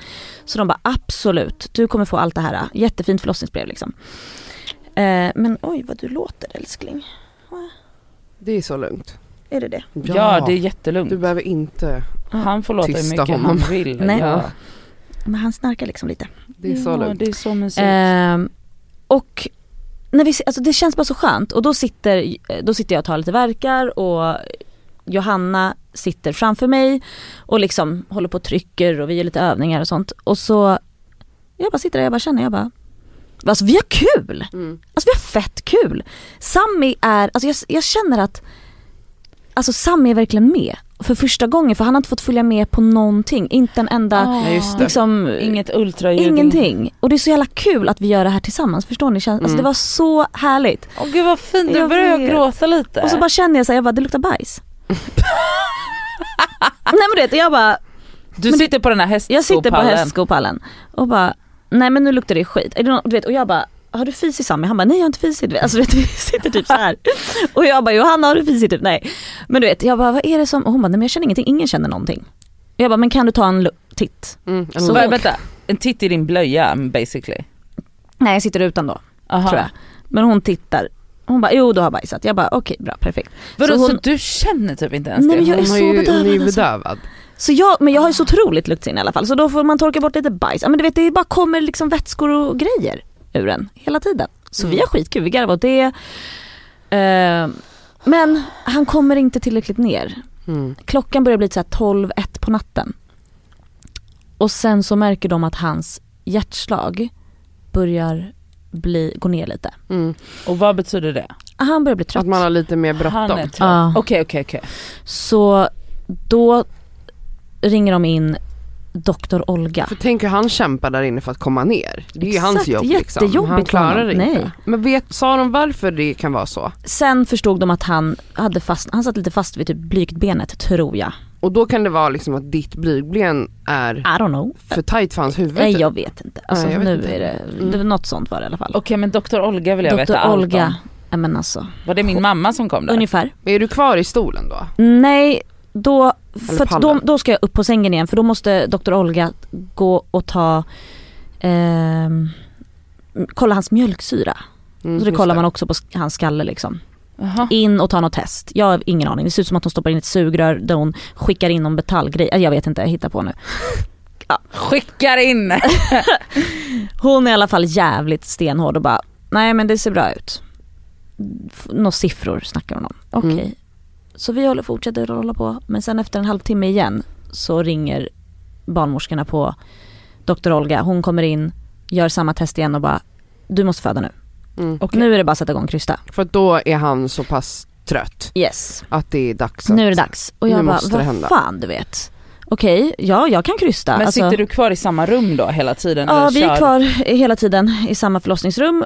Speaker 3: Så de bara absolut, du kommer få allt det här. Jättefint förlossningsbrev liksom. Eh, men oj vad du låter älskling.
Speaker 4: Det är så lugnt.
Speaker 3: Är det det?
Speaker 2: Ja. det är jättelugnt.
Speaker 4: Du behöver inte,
Speaker 2: Han får låta hur
Speaker 4: Tysta
Speaker 2: mycket
Speaker 4: honom.
Speaker 2: han vill.
Speaker 3: Nej.
Speaker 2: Ja.
Speaker 3: Men han snarkar liksom lite.
Speaker 4: det är så
Speaker 2: ja,
Speaker 4: lugnt.
Speaker 2: det är så mysigt. Ah.
Speaker 3: Eh, och när vi, alltså det känns bara så skönt och då sitter, eh, då sitter jag och tar lite verkar och Johanna sitter framför mig och liksom håller på och trycker och vi gör lite övningar och sånt. Och så, jag bara sitter där och jag bara känner, jag bara Alltså vi har kul!
Speaker 4: Mm.
Speaker 3: Alltså vi har fett kul! Sammy är, alltså jag, jag känner att Alltså Sammy är verkligen med. för första gången för han har inte fått följa med på någonting, inte en enda
Speaker 4: Nej, just det.
Speaker 3: liksom,
Speaker 2: Inget ultraljud.
Speaker 3: ingenting. Och det är så jävla kul att vi gör det här tillsammans, förstår ni? Kän- Alltså,
Speaker 4: Mm.
Speaker 3: det var så härligt.
Speaker 2: Åh gud vad fint, nu
Speaker 3: Jag
Speaker 2: börjar jag
Speaker 3: vet.
Speaker 2: gråta lite.
Speaker 3: Och så bara känner jag så här, jag bara det luktar bajs. Nej men du vet, jag bara,
Speaker 2: du
Speaker 3: men det-
Speaker 2: sitter på den här hästskopallen.
Speaker 3: jag sitter på hästskopallen och bara, nej men nu luktar det skit. Är det någon, du vet, och jag bara, har du fisit Sami? Han bara, nej jag har inte fisit. Du vet, Alltså du vet, vi sitter typ så här. Och jag bara, Johanna har du fisit? Typ, nej. Men du vet, jag bara, vad är det som, och hon bara, nej men jag känner ingenting, ingen känner någonting. Och jag bara, men kan du ta en lu- titt?
Speaker 4: Mm. en
Speaker 3: Så-
Speaker 2: Vä- Vänta, en titt i din blöja basically.
Speaker 3: Nej jag sitter utan då,
Speaker 2: Aha.
Speaker 3: tror jag. Men hon tittar, hon bara, jo du har bajsat. Jag bara, okej bra, perfekt.
Speaker 2: Vadå,
Speaker 3: Så
Speaker 2: så,
Speaker 3: hon-
Speaker 2: du känner typ inte ens
Speaker 3: Nej, men
Speaker 2: det?
Speaker 3: jag är
Speaker 4: hon har
Speaker 3: så
Speaker 4: ju- Hon är ju
Speaker 3: bedövad, alltså.
Speaker 4: bedövad.
Speaker 3: Så jag, men jag har ju så otroligt luktsinne i alla fall så då får man torka bort lite bajs. Ja, men du vet det bara kommer liksom vätskor och grejer ur en hela tiden. Så
Speaker 4: Mm.
Speaker 3: vi har skitkul, vi garvar åt det. Eh, men han kommer inte tillräckligt ner.
Speaker 4: Mm.
Speaker 3: Klockan börjar bli så här 12, 1 på natten. Och sen så märker de att hans hjärtslag börjar bli, gå ner lite.
Speaker 4: Mm.
Speaker 2: Och vad betyder det?
Speaker 3: Han börjar bli trött.
Speaker 4: Att man har lite mer
Speaker 2: Han är
Speaker 4: bråttom.
Speaker 2: trött.
Speaker 3: Ja.
Speaker 2: Okej okej okej.
Speaker 3: Så då ringer de in Dr. Olga.
Speaker 4: För tänk hur han kämpar där inne för att komma ner. Det är ju
Speaker 3: Exakt,
Speaker 4: hans jobb liksom. Han
Speaker 3: jättejobbigt för
Speaker 4: klarar
Speaker 3: honom.
Speaker 4: det inte.
Speaker 3: Nej.
Speaker 4: Men vet, sa de varför det kan vara så?
Speaker 3: Sen förstod de att han hade fast, han satt lite fast vid typ blygdbenet tror jag.
Speaker 4: Och då kan det vara liksom att ditt blygdben
Speaker 3: I
Speaker 4: är
Speaker 3: don't know.
Speaker 4: för tajt för hans huvud. typ.
Speaker 3: Nej jag vet inte. Alltså,
Speaker 4: Nej, jag vet
Speaker 3: nu
Speaker 4: inte.
Speaker 3: är det,
Speaker 4: Mm.
Speaker 3: det var något sånt var det i alla fall.
Speaker 2: Okej men Dr Olga vill jag
Speaker 3: Dr.
Speaker 2: veta allt
Speaker 3: Olga,
Speaker 2: om.
Speaker 3: ja, men alltså,
Speaker 2: Var det min mamma som kom där?
Speaker 3: ungefär.
Speaker 4: Men är du kvar i stolen då?
Speaker 3: Nej, då, för att då,
Speaker 4: pallen.
Speaker 3: då ska jag upp på sängen igen för då måste Dr. Olga gå och ta, ehm, kolla hans mjölksyra.
Speaker 4: Mm,
Speaker 3: Så det
Speaker 4: just
Speaker 3: kollar man också på sk- hans skalle liksom.
Speaker 2: Jaha.
Speaker 3: in och ta något test. Jag har ingen aning. Det ser ut som att hon stoppar in ett sugrör där hon skickar in någon metallgrej. Äh, Jag vet inte, jag hittar på nu.
Speaker 2: Skickar in!
Speaker 3: Hon är i alla fall jävligt stenhård och bara, nej men det ser bra ut. F- Några siffror snackar hon om. Okej.
Speaker 4: Mm.
Speaker 3: Så vi håller, fortsätter att hålla på men sen efter en halvtimme igen så ringer barnmorskorna på Dr. Olga. Hon kommer in, gör samma test igen och bara, du måste föda nu.
Speaker 4: Mm.
Speaker 2: Okej.
Speaker 3: Nu är det bara att sätta igång krysta.
Speaker 4: För att då är han så pass trött
Speaker 3: Yes.
Speaker 4: att det är dags att...
Speaker 3: Nu är det dags. Och
Speaker 4: nu
Speaker 3: jag bara,
Speaker 4: måste det
Speaker 3: vad
Speaker 4: hända."
Speaker 3: fan du vet. Okej, ja jag kan krysta.
Speaker 2: Men
Speaker 3: Alltså,
Speaker 2: sitter du kvar i samma rum då hela tiden?
Speaker 3: ja
Speaker 2: eller
Speaker 3: vi
Speaker 2: kör-
Speaker 3: är kvar hela tiden i samma förlossningsrum.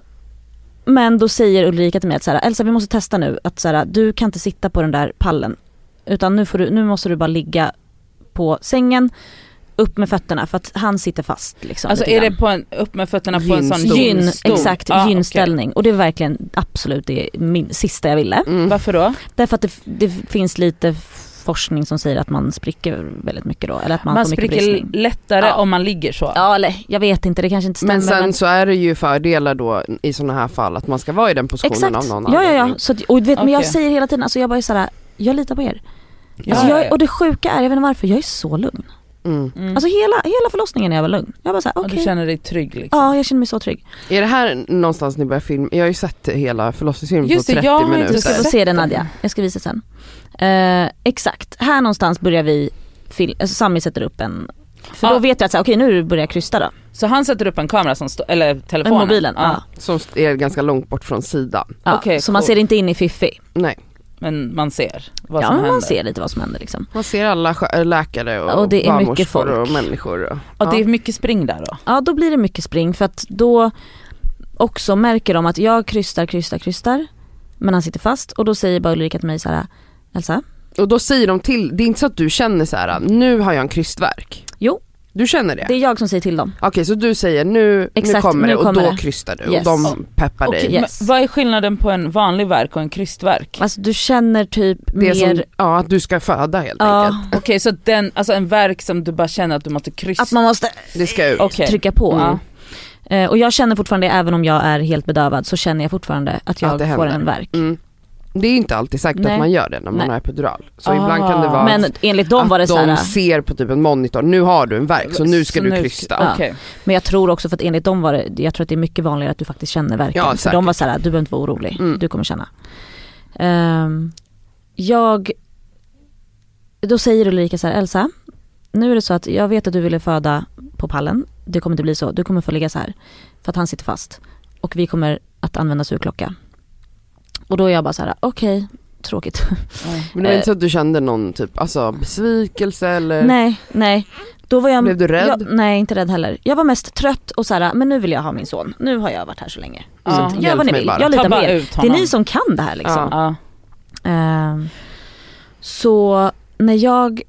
Speaker 3: Men då säger Ulrika till mig att så här, Elsa vi måste testa nu att så här, du kan inte sitta på den där pallen. Utan nu, får du, nu måste du bara ligga på sängen, upp med fötterna för att han sitter fast. Liksom,
Speaker 2: Alltså
Speaker 3: lite
Speaker 2: är det
Speaker 3: grann.
Speaker 2: på en, upp med fötterna på en sån
Speaker 4: Gynstol.
Speaker 3: Gyn,
Speaker 2: gynstol?
Speaker 3: exakt,
Speaker 2: Ah, okej.
Speaker 3: gynställning. Och det är verkligen absolut det min, sista jag ville.
Speaker 4: Mm.
Speaker 2: Varför då?
Speaker 3: Därför att det, det finns lite forskning som säger att man spricker väldigt mycket då. Eller att man,
Speaker 2: Man
Speaker 3: får mycket
Speaker 2: spricker
Speaker 3: bristning.
Speaker 2: lättare
Speaker 3: Ja.
Speaker 2: om man ligger så.
Speaker 3: Ja eller jag vet inte, det kanske inte stämmer.
Speaker 4: Men sen så är det ju fördelar då i sådana här fall att man ska vara i den positionen
Speaker 3: exakt.
Speaker 4: av någon
Speaker 3: ja, ja, ja.
Speaker 4: anledning.
Speaker 3: Så, att- och du vet, Men jag
Speaker 2: Okej.
Speaker 3: säger hela tiden, alltså jag bara är såhär, jag litar på er.
Speaker 2: Ja,
Speaker 3: Alltså,
Speaker 2: ja,
Speaker 3: jag,
Speaker 2: ja.
Speaker 3: och det sjuka är, jag vet inte varför, jag är så lugn.
Speaker 4: Mm.
Speaker 2: Mm.
Speaker 3: Alltså hela, hela förlossningen är jag väl lugn. Jag bara såhär,
Speaker 2: Och
Speaker 3: okej.
Speaker 2: Du känner dig trygg liksom?
Speaker 3: Ja jag känner mig så trygg.
Speaker 4: Är det här någonstans ni börjar filma? Jag har ju sett hela förlossningsfilmen på
Speaker 2: Just det,
Speaker 4: 30
Speaker 2: jag har inte
Speaker 4: minuter.
Speaker 3: Du ska få
Speaker 2: Sätt
Speaker 3: se den
Speaker 2: den.
Speaker 3: Nadja, jag ska visa sen. Eh, exakt, här någonstans börjar vi, fil- alltså, Sami sätter upp en, för
Speaker 2: Ja.
Speaker 3: då vet jag att så här, okej nu börjar jag krysta då.
Speaker 2: Så han sätter upp en kamera som står, eller
Speaker 3: Med
Speaker 2: telefonen?
Speaker 3: mobilen. Ja.
Speaker 4: Som är ganska långt bort från sidan.
Speaker 3: Ja.
Speaker 2: Okej,
Speaker 3: så man
Speaker 2: cool.
Speaker 3: ser inte in i Fiffi.
Speaker 4: Nej,
Speaker 2: Men man ser vad
Speaker 3: Ja
Speaker 2: som
Speaker 3: men
Speaker 2: händer?
Speaker 3: man ser lite vad som händer liksom.
Speaker 4: man ser alla skö- läkare och,
Speaker 3: Och det är mycket
Speaker 4: barnmorskor
Speaker 3: folk.
Speaker 4: och människor. Och,
Speaker 2: Och det är mycket spring där då?
Speaker 3: Ja då blir det mycket spring för att då också märker de att jag krystar, krystar, krystar. Men han sitter fast och då säger bara Ulrika till mig så här Elsa,
Speaker 4: och då säger de till, det är inte så att du känner så här: nu har jag en krystverk.
Speaker 3: Jo.
Speaker 4: Du känner det?
Speaker 3: det är jag som säger till dem.
Speaker 4: Okej så du säger nu, nu
Speaker 3: Exakt,
Speaker 4: kommer
Speaker 3: nu
Speaker 4: det och
Speaker 3: kommer
Speaker 4: då
Speaker 3: det.
Speaker 4: krystar du
Speaker 3: Yes.
Speaker 4: och de peppar
Speaker 2: Okej,
Speaker 4: dig.
Speaker 2: men
Speaker 3: Eh, Yes.
Speaker 2: Vad är skillnaden på en vanlig verk och en krystverk?
Speaker 3: Alltså du känner typ
Speaker 4: Det är
Speaker 3: mer
Speaker 4: som, ja att du ska föda helt
Speaker 3: ja,
Speaker 4: enkelt.
Speaker 2: Okej så den, alltså en verk som du bara känner att du måste kryssa?
Speaker 3: att man måste
Speaker 4: Det ska ut.
Speaker 2: Okej.
Speaker 3: trycka på.
Speaker 4: Mm.
Speaker 2: Ja.
Speaker 3: Eh, Och jag känner fortfarande, även om jag är helt bedövad, så känner jag fortfarande att jag
Speaker 4: Att det
Speaker 3: får
Speaker 4: händer.
Speaker 3: en värk.
Speaker 4: Mm. Det är inte alltid säkert
Speaker 3: Nej.
Speaker 4: att man gör det när man
Speaker 3: Nej.
Speaker 4: har epidural. Så
Speaker 2: Ah.
Speaker 4: ibland kan det vara
Speaker 3: Men enligt dem
Speaker 4: Mm. att
Speaker 3: var det så här,
Speaker 4: de ser på typ en monitor, nu har du en verk så nu ska du krysta.
Speaker 2: Okej.
Speaker 3: Ja. men jag tror också för att enligt dem var det, jag tror att det är mycket vanligare att du faktiskt känner värken.
Speaker 4: Ja,
Speaker 3: för
Speaker 4: säkert.
Speaker 3: de var så här, du behöver inte vara orolig,
Speaker 4: Mm.
Speaker 3: du kommer känna. Ehm, jag, då säger Ulrika så här, Elsa, nu är det så att jag vet att du ville föda på pallen, det kommer inte bli så, du kommer få ligga så här. För att han sitter fast. Och vi kommer att använda surklocka. Och då är jag bara så här: okej, tråkigt.
Speaker 4: Men det var
Speaker 3: Eh.
Speaker 4: inte så att du kände någon typ, alltså besvikelse eller?
Speaker 3: Nej, nej. Då var jag,
Speaker 4: Mm. Blev du rädd?
Speaker 3: Jag, nej inte rädd heller. Jag var mest trött och så här, men nu vill jag ha min son. Nu har jag varit här så länge.
Speaker 2: Ja.
Speaker 3: Så att, gör
Speaker 4: Hjälp
Speaker 3: vad ni
Speaker 4: mig
Speaker 3: vill,
Speaker 4: bara.
Speaker 3: jag
Speaker 2: Ta
Speaker 3: litar på
Speaker 2: bara
Speaker 3: er.
Speaker 2: ut
Speaker 3: Det är
Speaker 2: honom.
Speaker 3: ni som kan det här liksom.
Speaker 4: Ja.
Speaker 2: Ja.
Speaker 3: Ehm, så när jag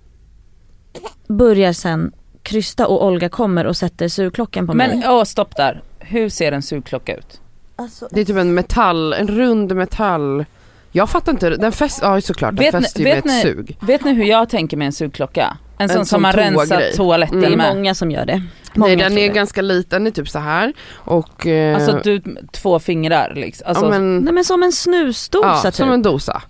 Speaker 3: börjar sen krysta och Olga kommer och sätter sugklockan på
Speaker 2: Men
Speaker 3: mig.
Speaker 2: åh, stopp där. Hur ser en sugklocka ut?
Speaker 4: Det är typ en metall, en rund metall. Jag fattar inte, den fäst, ja såklart
Speaker 2: Vet ni-
Speaker 4: den fäster ju med
Speaker 2: vet
Speaker 4: ett
Speaker 2: ni-
Speaker 4: sug.
Speaker 2: Vet ni hur jag tänker med en sugklocka? En, sån
Speaker 4: sån
Speaker 2: som man rensar
Speaker 4: toagrej.
Speaker 2: toaletten
Speaker 3: det är
Speaker 2: med.
Speaker 3: många som gör det. Många
Speaker 4: Nej den
Speaker 3: tror
Speaker 4: är
Speaker 3: det.
Speaker 4: ganska liten, den är typ så här och... eh,
Speaker 2: Alltså du, två fingrar liksom. Alltså,
Speaker 4: ja, men,
Speaker 3: Nej men som en snusdosa
Speaker 4: ja,
Speaker 3: typ.
Speaker 4: som en dosa.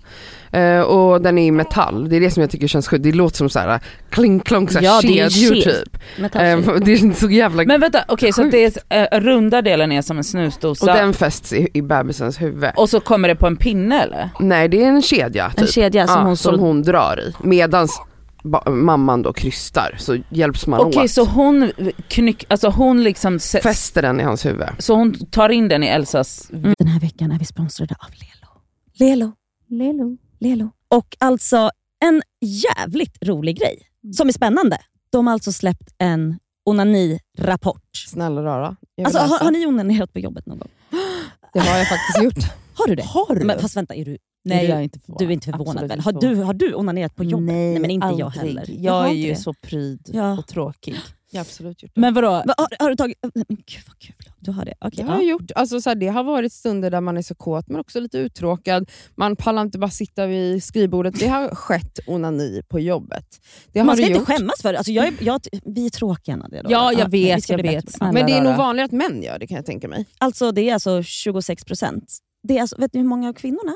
Speaker 4: Eh, och den är i metall, det är det som jag tycker känns skönt. Det låter som såhär klingklong, såhär
Speaker 3: Ja, det är ju
Speaker 4: kedjor
Speaker 3: kedjor.
Speaker 4: typ.
Speaker 3: Med touch i.
Speaker 4: Eh, det är inte så jävla...
Speaker 2: Men vänta, okej så att det är, eh, runda delen är som en snusdosa
Speaker 4: och
Speaker 2: och,
Speaker 4: den fästs i, i bebisens huvud.
Speaker 2: så kommer det på en pinne eller?
Speaker 4: Nej det är en kedja typ.
Speaker 3: en kedja som
Speaker 4: ja,
Speaker 3: hon
Speaker 4: som
Speaker 3: såg.
Speaker 4: hon drar i. Medans ba- mamman då krystar så hjälps man
Speaker 2: Okej
Speaker 4: åt.
Speaker 2: så hon knyck, alltså hon liksom, se-
Speaker 4: Fäster den i hans huvud.
Speaker 2: så hon tar in den i Elsas
Speaker 3: Mm.
Speaker 5: Den här veckan är vi sponsrade av Lelo. Lelo. Lelo. Lelo. Och alltså en jävligt rolig grej som är spännande. De har alltså släppt en onanirapport.
Speaker 4: Snälla rara. Jag vill
Speaker 5: Alltså,
Speaker 4: läsa.
Speaker 5: har, har ni onanerat på jobbet någon gång?
Speaker 1: Det har jag faktiskt gjort.
Speaker 5: Har du det?
Speaker 1: Har du?
Speaker 5: Men, fast vänta, är du,
Speaker 1: Nej,
Speaker 5: är
Speaker 1: jag är
Speaker 5: du,
Speaker 1: inte förvånad.
Speaker 5: du är inte förvånad
Speaker 1: Absolut
Speaker 5: väl?
Speaker 1: inte
Speaker 5: Har
Speaker 1: förvånad.
Speaker 5: du, har du onanerat på jobbet?
Speaker 1: Nej,
Speaker 5: men inte jag
Speaker 1: aldrig.
Speaker 5: heller.
Speaker 1: Jag,
Speaker 5: har
Speaker 1: är
Speaker 5: inte
Speaker 1: ju
Speaker 5: det.
Speaker 1: så pryd
Speaker 5: Ja.
Speaker 1: och tråkig. Jag har absolut gjort det.
Speaker 5: Men vadå?
Speaker 1: Va-
Speaker 5: har, har du tagit... Nej, Men gud vad kul. Du har det?
Speaker 1: Det
Speaker 5: Okej.
Speaker 1: har jag gjort. Alltså, så här, det har varit stunder där man är så kåt men också lite uttråkad. Man pallar inte bara sitta vid skrivbordet. Det har skett onani på jobbet. Det
Speaker 5: ja.
Speaker 1: har
Speaker 5: Man ska
Speaker 1: det
Speaker 5: inte
Speaker 1: gjort.
Speaker 5: skämmas för det. Alltså, jag, är- jag, vi är tråkiga Nadja. då.
Speaker 2: Ja jag
Speaker 5: men vi
Speaker 2: vet,
Speaker 5: ska
Speaker 2: jag
Speaker 5: bli
Speaker 2: vet.
Speaker 5: bättre på
Speaker 2: Snälla,
Speaker 1: Men det är nog
Speaker 2: rara.
Speaker 1: vanligare att män gör det kan jag tänka mig.
Speaker 5: Alltså det är alltså 26 procent. Det är alltså, vet ni hur många av kvinnorna?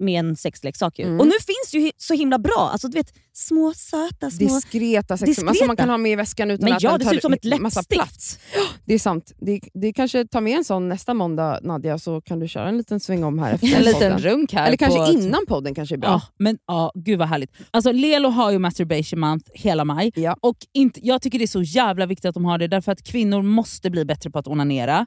Speaker 5: med en sexleksak. Ju.
Speaker 4: Mm.
Speaker 5: Och nu finns det ju hi- så himla bra. Alltså, du vet, små söta små...
Speaker 1: Diskreta sexer
Speaker 5: Diskreta.
Speaker 1: alltså, man kan ha med i väskan utan
Speaker 5: men
Speaker 1: att
Speaker 5: ja,
Speaker 1: den
Speaker 5: det
Speaker 1: tar
Speaker 5: ser ut som ett
Speaker 1: massa
Speaker 5: läppstift.
Speaker 1: plats. Det är sant. Det, det kanske tar med en sån nästa måndag Nadja så kan du köra en liten sväng om här efter
Speaker 2: En liten
Speaker 1: podden.
Speaker 2: runk här.
Speaker 1: Eller kanske
Speaker 2: på-
Speaker 1: innan podden kanske är bra.
Speaker 2: Ja, men ja, gud vad härligt. Alltså Lelo har ju masturbation month hela maj.
Speaker 1: Ja.
Speaker 2: Och inte, jag tycker det är så jävla viktigt att de har det, därför att kvinnor måste bli bättre på att onanera.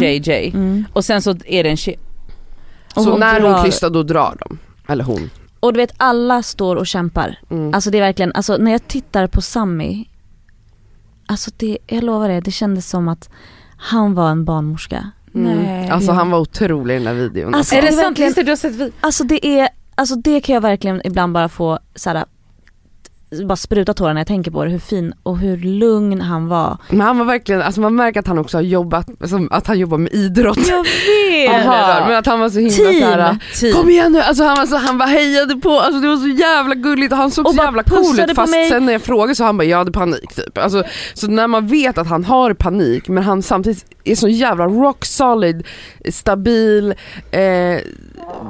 Speaker 2: JJ.
Speaker 5: Mm.
Speaker 2: Och sen så är det en tjej.
Speaker 3: Och
Speaker 4: Så
Speaker 3: hon
Speaker 4: när
Speaker 3: drar-
Speaker 4: hon krystar då drar de. Eller hon.
Speaker 3: Och du vet alla står och kämpar.
Speaker 4: Mm.
Speaker 3: Alltså det är verkligen, alltså när jag tittar på Sammy, alltså det, jag lovar det, det kändes som att han var en barnmorska.
Speaker 1: Mm.
Speaker 2: Nej.
Speaker 4: Alltså han var otrolig i den där videon.
Speaker 3: Alltså,
Speaker 4: Alltså,
Speaker 3: Är det sant? Just
Speaker 2: du har sett vi...
Speaker 3: Alltså det är, alltså det kan jag verkligen ibland bara få såhär, bara spruta tårar när jag tänker på det, hur fin och hur lugn han var.
Speaker 4: Men han var verkligen, alltså man märker att han också har jobbat, som, att han jobbar med idrott.
Speaker 3: Jag vet!
Speaker 2: Jaha.
Speaker 4: Men att han var så himla såhär, kom igen nu, alltså han var så, han bara hejade på, alltså det var så jävla gulligt och han såg
Speaker 3: Och
Speaker 4: så
Speaker 3: bara
Speaker 4: jävla cool
Speaker 3: pussade på
Speaker 4: ut fast
Speaker 3: mig.
Speaker 4: sen när jag frågade så han bara jag hade panik typ. Alltså, så när man vet att han har panik men han samtidigt är så jävla rock solid, stabil, eh,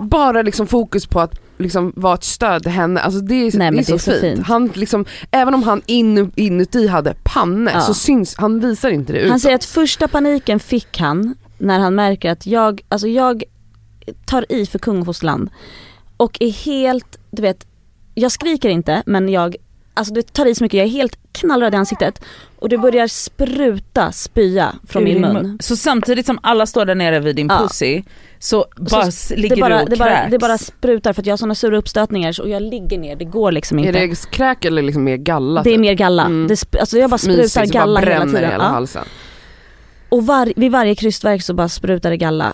Speaker 4: bara liksom fokus på att liksom vara ett stöd till henne, alltså det är,
Speaker 3: Nej,
Speaker 4: det
Speaker 3: men
Speaker 4: är så, fint.
Speaker 3: fint.
Speaker 4: Han liksom, även om han in, inuti hade panne
Speaker 3: Ja.
Speaker 4: så syns, han visar inte det ut.
Speaker 3: Han säger att första paniken fick han när han märker att jag, alltså jag tar i för kungfosterland och är helt, du vet, jag skriker inte men jag, alltså du vet, tar i så mycket, jag är helt knallröd i ansiktet och det börjar spruta spya från min mun.
Speaker 2: Så samtidigt som alla står där nere vid din
Speaker 3: Ja.
Speaker 2: pussy så bara s- ligger
Speaker 3: Det bara,
Speaker 2: du och
Speaker 3: det, bara,
Speaker 2: kräks.
Speaker 3: det bara sprutar för att jag har sådana sura uppstötningar så- och jag ligger ner, det går liksom
Speaker 4: är
Speaker 3: inte.
Speaker 4: det kräk eller liksom mer galla?
Speaker 3: Det är
Speaker 4: typ?
Speaker 3: mer galla.
Speaker 4: Mm.
Speaker 3: Det sp- alltså jag bara sprutar
Speaker 4: Mysigt, så bara
Speaker 3: galla hela
Speaker 4: bränner i
Speaker 3: tiden.
Speaker 4: hela
Speaker 3: Ja.
Speaker 4: halsen.
Speaker 3: Och var, vid varje krystverk så bara sprutar det galla.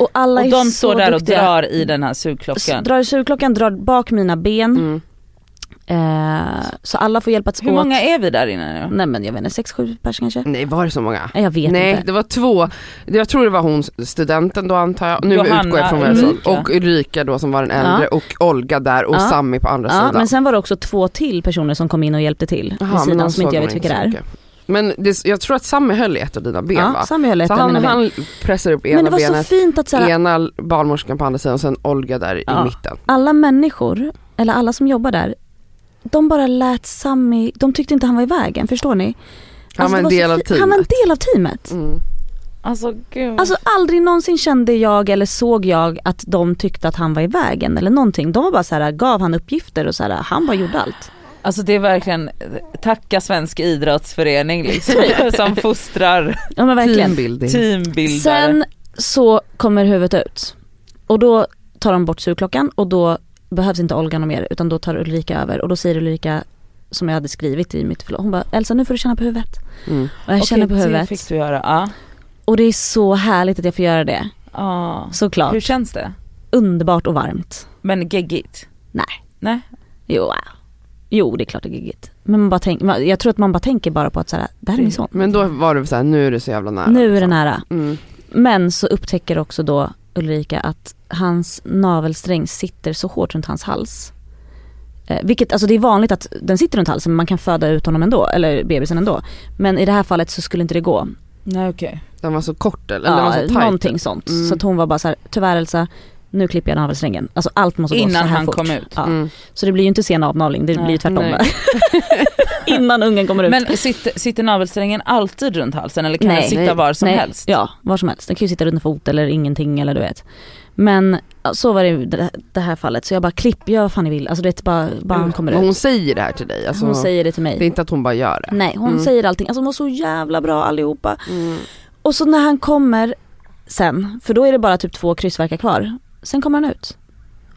Speaker 3: Och alla
Speaker 2: och
Speaker 3: är
Speaker 2: de
Speaker 3: så
Speaker 2: står där och
Speaker 3: duktiga.
Speaker 2: drar i den här
Speaker 3: S-
Speaker 2: sugklockan.
Speaker 3: Drar i sugklockan, drar bak mina ben.
Speaker 4: Mm.
Speaker 3: Eh, så alla får hjälpas
Speaker 2: Hur
Speaker 3: åt.
Speaker 2: många är vi där inne nu?
Speaker 3: Nej men jag vet inte, sex, sju pers kanske?
Speaker 4: Nej var det så många?
Speaker 3: Nej, Jag vet
Speaker 4: Nej
Speaker 3: inte.
Speaker 4: det var två, jag tror det var hon studenten då antar jag, nu
Speaker 2: Johanna,
Speaker 4: utgår jag från vad jag
Speaker 2: Ulrika.
Speaker 4: sa. Och Ulrika då som var den äldre och Olga där och
Speaker 3: Ja.
Speaker 4: Sammy på andra
Speaker 3: Ja,
Speaker 4: sidan.
Speaker 3: men sen var det också två till personer som kom in och hjälpte till
Speaker 4: Jaha,
Speaker 3: vid
Speaker 4: men de
Speaker 3: sidan som
Speaker 4: såg
Speaker 3: inte jag
Speaker 4: man
Speaker 3: vet vilka det
Speaker 4: så
Speaker 3: är.
Speaker 4: mycket. Men det, jag tror att Sammy höll i ett av dina ben
Speaker 3: Ja,
Speaker 4: va?
Speaker 3: Sami höll ett
Speaker 4: Så
Speaker 3: av
Speaker 4: han,
Speaker 3: mina ben.
Speaker 4: han pressar upp
Speaker 3: Men det
Speaker 4: ena
Speaker 3: var så
Speaker 4: benet,
Speaker 3: fint att så här,
Speaker 4: ena barnmorskan på andra sidan och sen Olga där
Speaker 3: Ja.
Speaker 4: i mitten.
Speaker 3: alla människor, eller alla som jobbar där, de bara lät Sami, de tyckte inte han var i vägen, förstår ni?
Speaker 4: Han
Speaker 3: Alltså,
Speaker 4: var
Speaker 3: det
Speaker 4: en
Speaker 3: så
Speaker 4: del av
Speaker 3: fint. Han var en
Speaker 4: teamet.
Speaker 3: del av teamet.
Speaker 4: Mm.
Speaker 2: Alltså gud.
Speaker 3: Alltså aldrig någonsin kände jag eller såg jag att de tyckte att han var i vägen eller någonting. De var bara så här, gav han uppgifter och så här, han bara gjorde allt.
Speaker 2: Alltså det är verkligen, tacka svensk idrottsförening liksom, som fostrar
Speaker 3: Ja men verkligen.
Speaker 4: Teambuilding.
Speaker 2: teambildare.
Speaker 3: Sen så kommer huvudet ut och då tar de bort surklockan och då behövs inte Olga någon mer utan då tar Ulrika över och då säger Ulrika som jag hade skrivit i mitt förlopp, hon bara Elsa nu får du känna på huvudet.
Speaker 4: Mm.
Speaker 3: Och jag känner på
Speaker 2: det
Speaker 3: huvudet
Speaker 2: fick du göra. Ja.
Speaker 3: och det är så härligt att jag får göra det.
Speaker 2: Ja.
Speaker 3: Såklart.
Speaker 2: Hur känns det?
Speaker 3: Underbart och varmt.
Speaker 2: Men geggigt?
Speaker 3: Nej.
Speaker 2: Nej.
Speaker 3: Jo, wow. jo det är klart det är giggigt. Men man bara tänk, man- jag tror att man bara tänker bara på att så här, det
Speaker 2: Mm.
Speaker 3: här är min son.
Speaker 4: Men då var du såhär, nu är det så jävla nära.
Speaker 3: Nu är det nära.
Speaker 4: Mm.
Speaker 3: Men så upptäcker också då Ulrika att hans navelsträng sitter så hårt runt hans hals. Eh, vilket, alltså det är vanligt att den sitter runt halsen men man kan föda ut honom ändå, eller bebisen ändå. Men i det här fallet så skulle inte det gå.
Speaker 2: Nej okej.
Speaker 4: Den var så kort eller? den var
Speaker 3: Ja,
Speaker 4: så tajt.
Speaker 3: någonting sånt.
Speaker 4: Mm.
Speaker 3: Så att hon var bara så här, tyvärr Elsa, nu klipper jag navelsträngen. Alltså allt måste gå så
Speaker 2: Innan
Speaker 3: här
Speaker 2: han
Speaker 3: fort.
Speaker 2: kom ut.
Speaker 3: Ja.
Speaker 4: Mm.
Speaker 3: Så det blir ju inte sen avnavling, det
Speaker 2: Nej.
Speaker 3: blir ju tvärtom.
Speaker 4: Nej.
Speaker 3: va? Innan ungen kommer ut.
Speaker 2: Men sitter, sitter navelsträngen alltid runt halsen eller kan
Speaker 3: Nej.
Speaker 2: den sitta
Speaker 4: Nej.
Speaker 2: var som
Speaker 3: Nej,
Speaker 2: helst?
Speaker 3: Ja, var som helst. Den kan ju sitta runt fot eller ingenting eller du vet. Men ja, så var det ju det det här fallet. Så jag bara klipp, gör vad fan ni vill. Alltså du vet bara, bara han kommer
Speaker 4: Men Mm. Hon
Speaker 3: ut.
Speaker 4: säger det här till dig? Alltså,
Speaker 3: Hon säger det till mig.
Speaker 4: Det är inte att hon bara gör det?
Speaker 3: Nej hon
Speaker 4: Mm.
Speaker 3: säger allting. Alltså de var så jävla bra allihopa.
Speaker 4: Mm.
Speaker 3: Och så när han kommer sen, för då är det bara typ två kryssverkar kvar. Sen kommer han ut.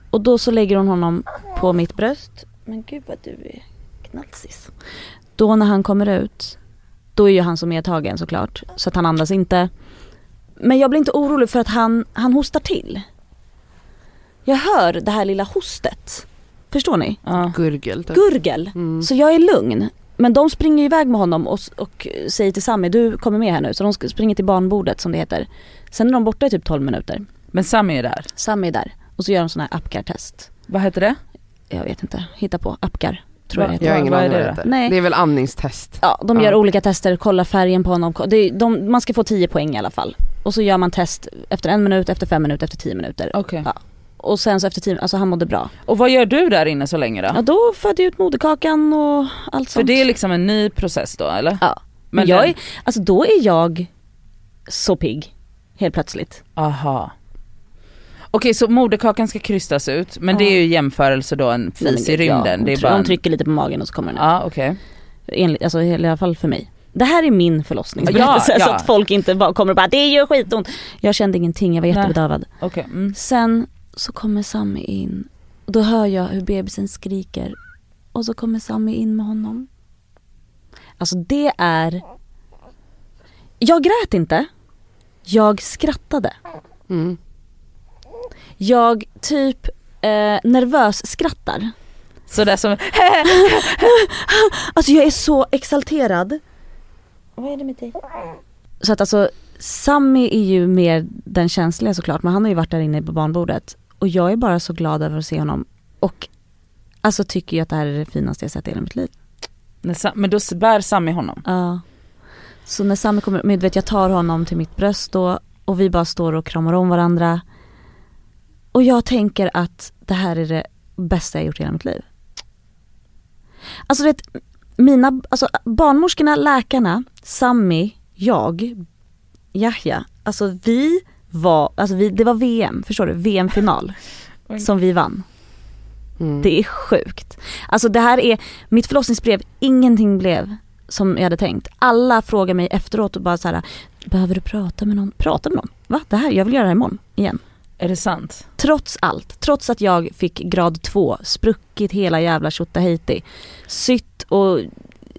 Speaker 3: Och då så lägger hon honom på mitt bröst. Men gud vad du är knatsis. Då när han kommer ut, då är ju han så medtagen såklart. Så att han andas inte. Men jag blir inte orolig för att han, han hostar till. Jag hör det här lilla hostet. Förstår ni?
Speaker 2: Ja.
Speaker 4: Gurgel typ.
Speaker 3: Gurgel.
Speaker 4: Mm.
Speaker 3: Så jag är lugn. Men de springer iväg med honom och, och säger till Sami, du kommer med här nu. Så de sk- springer till barnbordet som det heter. Sen är de borta i typ 12 minuter.
Speaker 2: Men Sam är ju där.
Speaker 3: Sami är där och så gör de sådana här apgar-test.
Speaker 2: Vad heter det?
Speaker 3: Jag vet inte, hitta på. Apgar, tror jag det heter.
Speaker 4: Jag har ingen
Speaker 2: Vad är
Speaker 4: aning vad
Speaker 2: det
Speaker 4: det
Speaker 2: då?
Speaker 4: heter.
Speaker 3: Nej.
Speaker 4: Det är väl andningstest?
Speaker 3: Ja, de
Speaker 4: Ja.
Speaker 3: gör olika tester, kollar färgen på honom. Ko- Det är, de, man ska få 10 poäng i alla fall. Och så gör man test efter en minut, efter fem minuter, efter 10 minuter.
Speaker 2: Okej.
Speaker 3: Ja. Och sen så efter 10 alltså han mådde bra.
Speaker 2: Och vad gör du där inne så länge då?
Speaker 3: Ja, då födde jag ut moderkakan och allt
Speaker 2: För
Speaker 3: sånt.
Speaker 2: det är liksom en ny process då eller?
Speaker 3: Ja. Men
Speaker 2: Men
Speaker 3: jag
Speaker 2: den-
Speaker 3: är, alltså då är jag så pigg helt plötsligt.
Speaker 2: Aha. Okej så moderkakan ska krystas ut men
Speaker 3: Ja.
Speaker 2: det är ju i jämförelse då en
Speaker 3: Nej, men
Speaker 2: fis i
Speaker 3: gud, ja,
Speaker 2: rymden.
Speaker 3: hon
Speaker 2: det
Speaker 3: try-
Speaker 2: är bara
Speaker 3: Hon
Speaker 2: en...
Speaker 3: trycker lite på magen och så kommer den ut.
Speaker 2: Ja okej.
Speaker 3: Enligt, alltså, I alla fall för mig. Det här är min förlossningsberättelse
Speaker 2: Ja, ja.
Speaker 3: så att folk inte bara kommer och bara det gör skitont. Jag kände ingenting, jag var
Speaker 2: Nej.
Speaker 3: jättebedövad.
Speaker 2: Okej, mm.
Speaker 3: Sen så kommer Sammy in och då hör jag hur bebisen skriker och så kommer Sammy in med honom. Alltså det är... Jag grät inte. Jag skrattade.
Speaker 4: Mm.
Speaker 3: Jag typ eh, nervös skrattar.
Speaker 2: Så där som,
Speaker 3: Alltså jag är så exalterad. Vad är det med dig? Så att alltså Sammy är ju mer den känsliga såklart men han har ju varit där inne på barnbordet och jag är bara så glad över att se honom och alltså tycker ju att det här är det finaste jag sett i hela mitt liv.
Speaker 2: när Sam- men då bär Sammy honom.
Speaker 3: Ja. Så när Sammy kommer, men du vet jag tar honom till mitt bröst då och vi bara står och kramar om varandra. Och jag tänker att det här är det bästa jag gjort i hela mitt liv. Alltså du vet, mina, alltså barnmorskorna, läkarna, Sammy, jag, Yahya, alltså vi var, alltså vi, det var VM, förstår du? VM-final
Speaker 2: Oj.
Speaker 3: som vi vann.
Speaker 4: Mm.
Speaker 3: Det är sjukt. Alltså det här är, mitt förlossningsbrev, ingenting blev som jag hade tänkt. Alla frågar mig efteråt och bara så här, behöver du prata med någon? Prata med någon? Va? Det här, jag vill göra det här imorgon igen.
Speaker 2: Är det sant?
Speaker 3: Trots allt, trots att jag fick grad 2, spruckit hela jävla tjottahejti, sytt och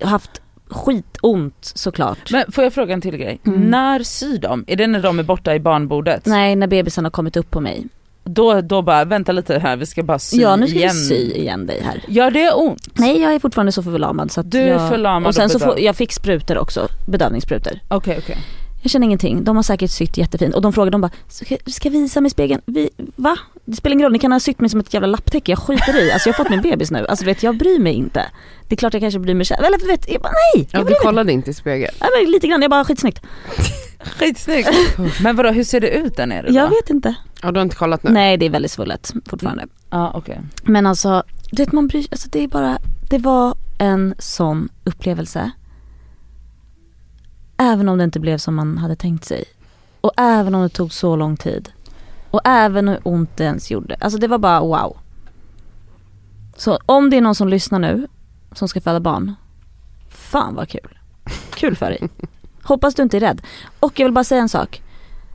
Speaker 3: haft skitont såklart.
Speaker 2: Men får jag fråga en till grej?
Speaker 3: Mm.
Speaker 2: När syr de? Är det när de är borta i barnbordet?
Speaker 3: Nej, när bebisen har kommit upp på mig.
Speaker 2: Då, då bara, vänta lite här, vi ska bara sy
Speaker 3: ja nu ska
Speaker 2: igen.
Speaker 3: vi sy igen dig här.
Speaker 2: Gör det ont?
Speaker 3: Nej jag är fortfarande så förlamad så att
Speaker 2: Du är
Speaker 3: jag...
Speaker 2: förlamad
Speaker 3: Och sen
Speaker 2: och
Speaker 3: så får,
Speaker 2: bedövad.
Speaker 3: jag fick sprutor också, bedövningssprutor.
Speaker 2: Okej, okej.
Speaker 3: Jag känner ingenting, de har säkert sytt jättefint och de frågar, de bara ska, ska jag visa mig i spegeln? Vi, va? Det spelar ingen roll, ni kan ha sytt mig som ett jävla lapptäcke, jag skiter i. Alltså jag har fått min bebis nu, alltså du vet jag bryr mig inte. Det är klart jag kanske bryr mig själv, eller du vet, jag bara, nej!
Speaker 4: Ja,
Speaker 3: Jag
Speaker 4: du
Speaker 3: bryr mig.
Speaker 4: kollade inte i spegeln.
Speaker 3: Ja, men lite grann, jag bara skitsnyggt.
Speaker 2: Skitsnyggt. Men vadå, hur ser det ut där nere då?
Speaker 3: Jag vet inte.
Speaker 4: Ja, du har inte kollat nu?
Speaker 3: Nej. det är väldigt svullet fortfarande.
Speaker 2: Ja, okej.
Speaker 3: Men alltså, du vet man bryr alltså det är bara, det var en sån upplevelse. Även om det inte blev som man hade tänkt sig. Och även om det tog så lång tid. Och även hur ont det ens gjorde. Alltså det var bara wow. Så om det är någon som lyssnar nu, som ska föda barn. Fan vad kul. Kul för dig. Hoppas du inte är rädd. Och jag vill bara säga en sak.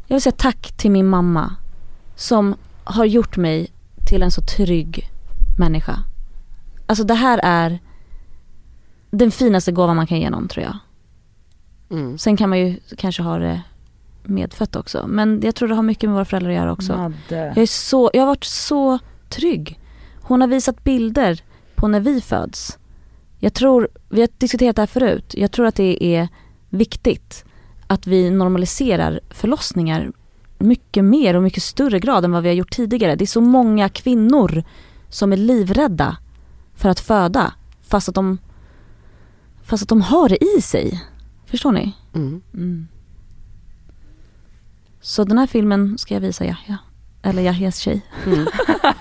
Speaker 3: Jag vill säga tack till min mamma. Som har gjort mig till en så trygg människa. Alltså det här är den finaste gåvan man kan ge någon tror jag.
Speaker 4: Mm.
Speaker 3: Sen kan man ju kanske ha det medfött också. Men jag tror det har mycket med våra föräldrar att göra också.
Speaker 2: Madde.
Speaker 3: Jag, är så, jag har varit så trygg. Hon har visat bilder på när vi föds. Jag tror, vi har diskuterat det här förut, jag tror att det är viktigt att vi normaliserar förlossningar mycket mer och mycket större grad än vad vi har gjort tidigare. Det är så många kvinnor som är livrädda för att föda fast att de, fast att de har det i sig. Förstår ni?
Speaker 4: Mm.
Speaker 2: Mm.
Speaker 3: Så den här filmen ska jag visa Yahya. Eller Yahyas tjej.
Speaker 4: Mm.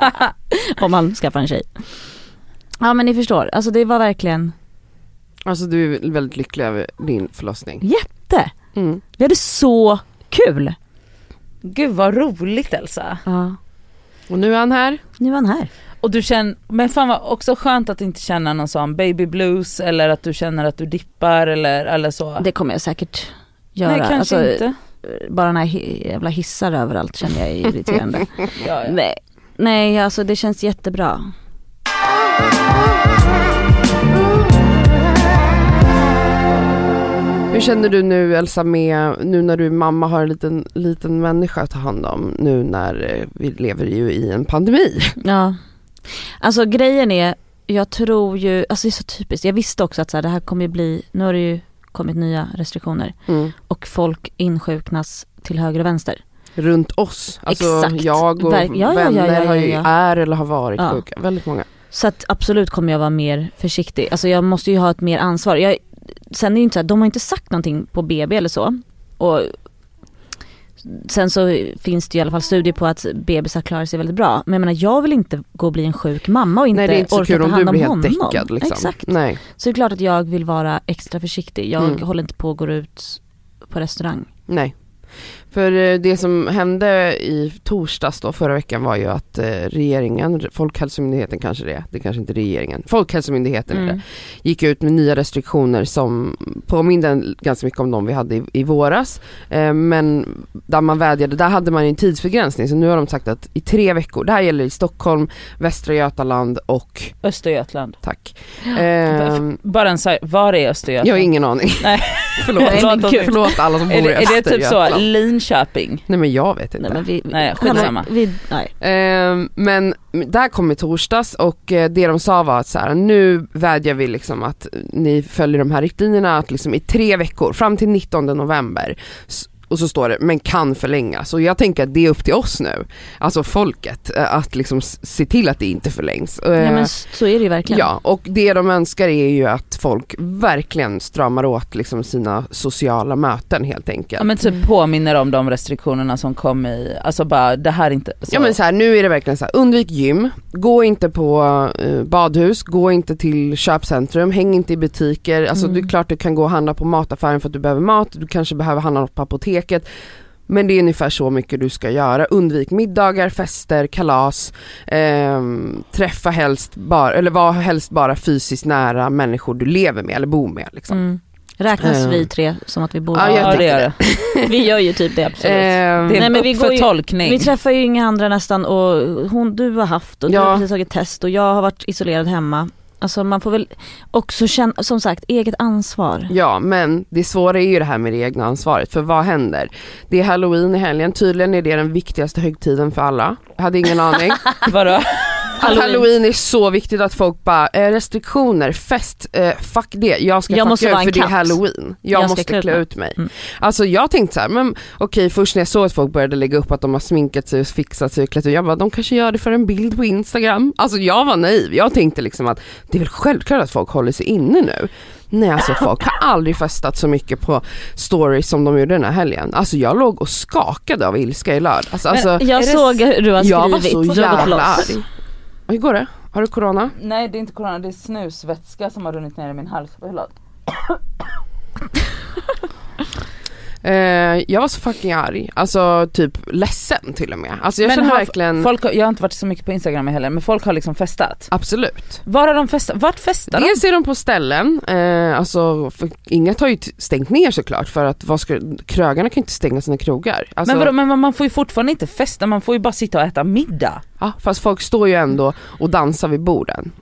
Speaker 3: Om han skaffar en tjej. Ja men ni förstår, alltså det var verkligen
Speaker 4: Alltså du är väldigt lycklig över din förlossning.
Speaker 3: jätte.
Speaker 4: Mm.
Speaker 3: Vi hade så kul.
Speaker 2: Gud vad roligt Elsa.
Speaker 3: Ja.
Speaker 4: Och nu är han här.
Speaker 3: Nu är han här.
Speaker 2: Och du känner, men fan vad också skönt att inte känna någon sån baby blues eller att du känner att du dippar eller, eller så.
Speaker 3: Det kommer jag säkert göra.
Speaker 2: Nej kanske
Speaker 3: Alltså,
Speaker 2: inte.
Speaker 3: Bara den här hi- jävla hissar överallt känner jag är irriterande.
Speaker 2: Ja, ja.
Speaker 3: Nej. Nej alltså det känns jättebra.
Speaker 4: Hur känner du nu Elsa med, nu när du är mamma har en liten, liten människa att ta hand om nu när eh, vi lever ju i en pandemi?
Speaker 3: Ja. Alltså grejen är, jag tror ju, alltså det är så typiskt. Jag visste också att så här, det här kommer ju bli, nu har det ju kommit nya restriktioner.
Speaker 4: Mm.
Speaker 3: och folk insjuknas till höger och vänster.
Speaker 4: Runt oss, alltså
Speaker 3: Exakt.
Speaker 4: jag och
Speaker 3: Verk- ja, ja, ja,
Speaker 4: vänner
Speaker 3: ja, ja,
Speaker 4: har ju
Speaker 3: ja.
Speaker 4: är eller har varit
Speaker 3: Ja.
Speaker 4: sjuka, väldigt många.
Speaker 3: Så att absolut kommer jag vara mer försiktig. Alltså jag måste ju ha ett mer ansvar. Jag, sen är det ju inte så här, de har inte sagt någonting på BB eller så. Och sen så finns det ju i alla fall studier på att bebisar klarar sig väldigt bra. Men jag menar jag vill inte gå och bli en sjuk mamma och inte
Speaker 4: Nej det är inte så
Speaker 3: orka
Speaker 4: kul
Speaker 3: ta
Speaker 4: om
Speaker 3: hand
Speaker 4: du
Speaker 3: om
Speaker 4: blir helt
Speaker 3: honom.
Speaker 4: däckad liksom.
Speaker 3: Exakt.
Speaker 4: Nej.
Speaker 3: Så det är klart att jag vill vara extra försiktig. Jag
Speaker 4: Mm.
Speaker 3: håller inte på att gå ut på restaurang.
Speaker 4: Nej. För eh, det som hände i torsdags då förra veckan var ju att eh, regeringen, Folkhälsomyndigheten kanske det är, det är kanske inte regeringen, Folkhälsomyndigheten
Speaker 3: Mm.
Speaker 4: är det, gick ut med nya restriktioner som påminde en ganska mycket om de vi hade i, i våras. Eh, men där man vädjade, där hade man ju en tidsbegränsning så nu har de sagt att i tre veckor, det här gäller i Stockholm, Västra Götaland och
Speaker 2: Östergötland.
Speaker 4: tack. Ehm,
Speaker 2: Bara en sån, var är
Speaker 4: jag har
Speaker 2: Östergötland?
Speaker 4: ingen aning.
Speaker 2: Nej.
Speaker 4: förlåt,
Speaker 2: Nej, men gud.
Speaker 4: förlåt alla som bor i
Speaker 2: Är det, är det typ så
Speaker 4: Östergötland.
Speaker 2: Linköping?
Speaker 4: Nej men jag vet inte.
Speaker 3: Nej men vi...
Speaker 2: Nej, skitsamma.
Speaker 3: Vi, nej.
Speaker 4: Ehm, men det här kom i torsdags och eh, det de sa var att så här, nu vädjar vi liksom att ni följer de här riktlinjerna att liksom i tre veckor, fram till 19 november s- och så står det, men kan förlängas. Och jag tänker att det är upp till oss nu, alltså folket, eh, att liksom s- se till att det inte förlängs.
Speaker 3: Nej
Speaker 4: Ehm,
Speaker 3: men så är det ju verkligen.
Speaker 4: Ja, och det de önskar är ju att folk verkligen stramar åt liksom sina sociala möten helt enkelt.
Speaker 2: Ja men typ påminner om de restriktionerna som kom i, alltså bara det här är inte så.
Speaker 4: Ja men så här, nu är det verkligen så här, undvik gym, gå inte på eh, badhus, gå inte till köpcentrum, häng inte i butiker. Alltså
Speaker 2: Mm.
Speaker 4: det är klart du kan gå och handla på mataffären för att du behöver mat, du kanske behöver handla något på apoteket. Men det är ungefär så mycket du ska göra. Undvik middagar, fester, kalas, ehm, träffa helst bara, eller var helst bara fysiskt nära människor du lever med eller bor med. Liksom.
Speaker 3: Mm. Räknas
Speaker 4: Eh.
Speaker 3: vi tre som att vi bor
Speaker 4: Ja, jag
Speaker 2: ja, det
Speaker 4: tänker
Speaker 2: gör det.
Speaker 3: Vi gör ju typ det absolut.
Speaker 4: Ehm,
Speaker 2: Det är
Speaker 3: Nej,
Speaker 2: en
Speaker 3: men vi går ju-
Speaker 2: uppförtolkning.
Speaker 3: Vi träffar ju inga andra nästan och hon, du har haft och
Speaker 4: Ja.
Speaker 3: du har precis tagit test och jag har varit isolerad hemma. Alltså man får väl också känna, som sagt, eget ansvar.
Speaker 4: Ja, men det svåra är ju det här med det egna ansvaret. För vad händer? Det är halloween i helgen, tydligen är det den viktigaste högtiden för alla. Jag hade ingen aning.
Speaker 2: Vadå?
Speaker 4: Halloween. Halloween är så viktigt att folk bara, eh, restriktioner, fest, eh, fuck det. Jag ska
Speaker 3: Jag
Speaker 4: fucka
Speaker 3: måste
Speaker 4: ut
Speaker 3: vara en
Speaker 4: för det är
Speaker 3: katt.
Speaker 4: halloween. Jag,
Speaker 3: Jag ska
Speaker 4: måste
Speaker 3: klä
Speaker 4: klä
Speaker 3: ut mig.
Speaker 4: ut mig.
Speaker 3: Mm.
Speaker 4: Alltså jag tänkte så här, men okej först när jag såg att folk började lägga upp att de har sminkat sig och fixat sig och klätt ut, jag bara de kanske gör det för en bild på Instagram. Alltså jag var naiv, jag tänkte liksom att det är väl självklart att folk håller sig inne nu. Nej alltså folk har aldrig festat så mycket på stories som de gjorde den här helgen. Alltså jag låg och skakade av ilska i lördags. Alltså,
Speaker 2: Men-
Speaker 4: alltså,
Speaker 3: Jag
Speaker 2: Är det
Speaker 3: såg hur du har skrivit.
Speaker 4: jag var så
Speaker 3: Du har gått
Speaker 4: jävla
Speaker 3: loss.
Speaker 4: arg. Och Hur går det? Har du corona?
Speaker 2: Nej det är inte corona, det är snusvätska som har runnit ner i min hals. Förlåt.
Speaker 4: Eh, jag var så fucking arg, alltså typ ledsen till och med. Alltså jag
Speaker 2: Men
Speaker 4: känner
Speaker 2: har-
Speaker 4: verkligen,
Speaker 2: Folk har, jag har inte varit så mycket på Instagram heller men folk har liksom festat.
Speaker 4: absolut.
Speaker 2: Var har de festat? Vart festar de?
Speaker 4: Dels är de på ställen, eh, alltså för, inget har ju t- stängt ner såklart för att vad ska, krögarna kan ju inte stänga sina krogar. Alltså,
Speaker 2: Men, vadå, men man får ju fortfarande inte festa, man får ju bara sitta och äta middag.
Speaker 4: ja, fast folk står ju ändå och dansar vid borden.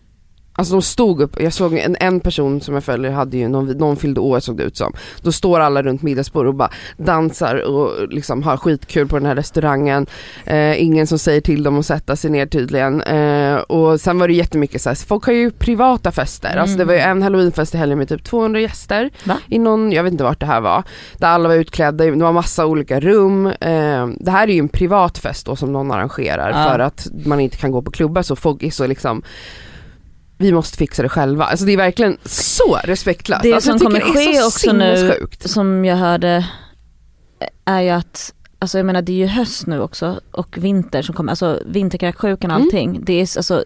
Speaker 4: Alltså de stod upp, jag såg en, en person som jag följer hade ju, någon, någon fyllde år såg det ut som. Då står alla runt middagsbordet och bara dansar och liksom har skitkul på den här restaurangen. Eh, ingen som säger till dem att sätta sig ner tydligen. Eh, och sen var det jättemycket så här, folk har ju privata fester. Alltså det var ju en halloweenfest i helgen med typ 200 gäster.
Speaker 2: Va?
Speaker 4: I någon, jag vet inte vart det här var. Där alla var utklädda, det var massa olika rum. Eh, det här är ju en privat fest då som någon arrangerar
Speaker 2: Ja.
Speaker 4: för att man inte kan gå på klubbar så folk är så liksom vi måste fixa det själva. Alltså det är verkligen så respektlöst.
Speaker 3: Det
Speaker 4: alltså, jag
Speaker 3: som
Speaker 4: tycker
Speaker 3: kommer
Speaker 4: det är
Speaker 3: ske
Speaker 4: så
Speaker 3: också nu-
Speaker 4: sinnessjukt.
Speaker 3: Som jag hörde är ju att, alltså jag menar det är ju höst nu också och vinter som kommer, alltså vinterkräksjukan och
Speaker 4: Mm.
Speaker 3: allting. Det är s- alltså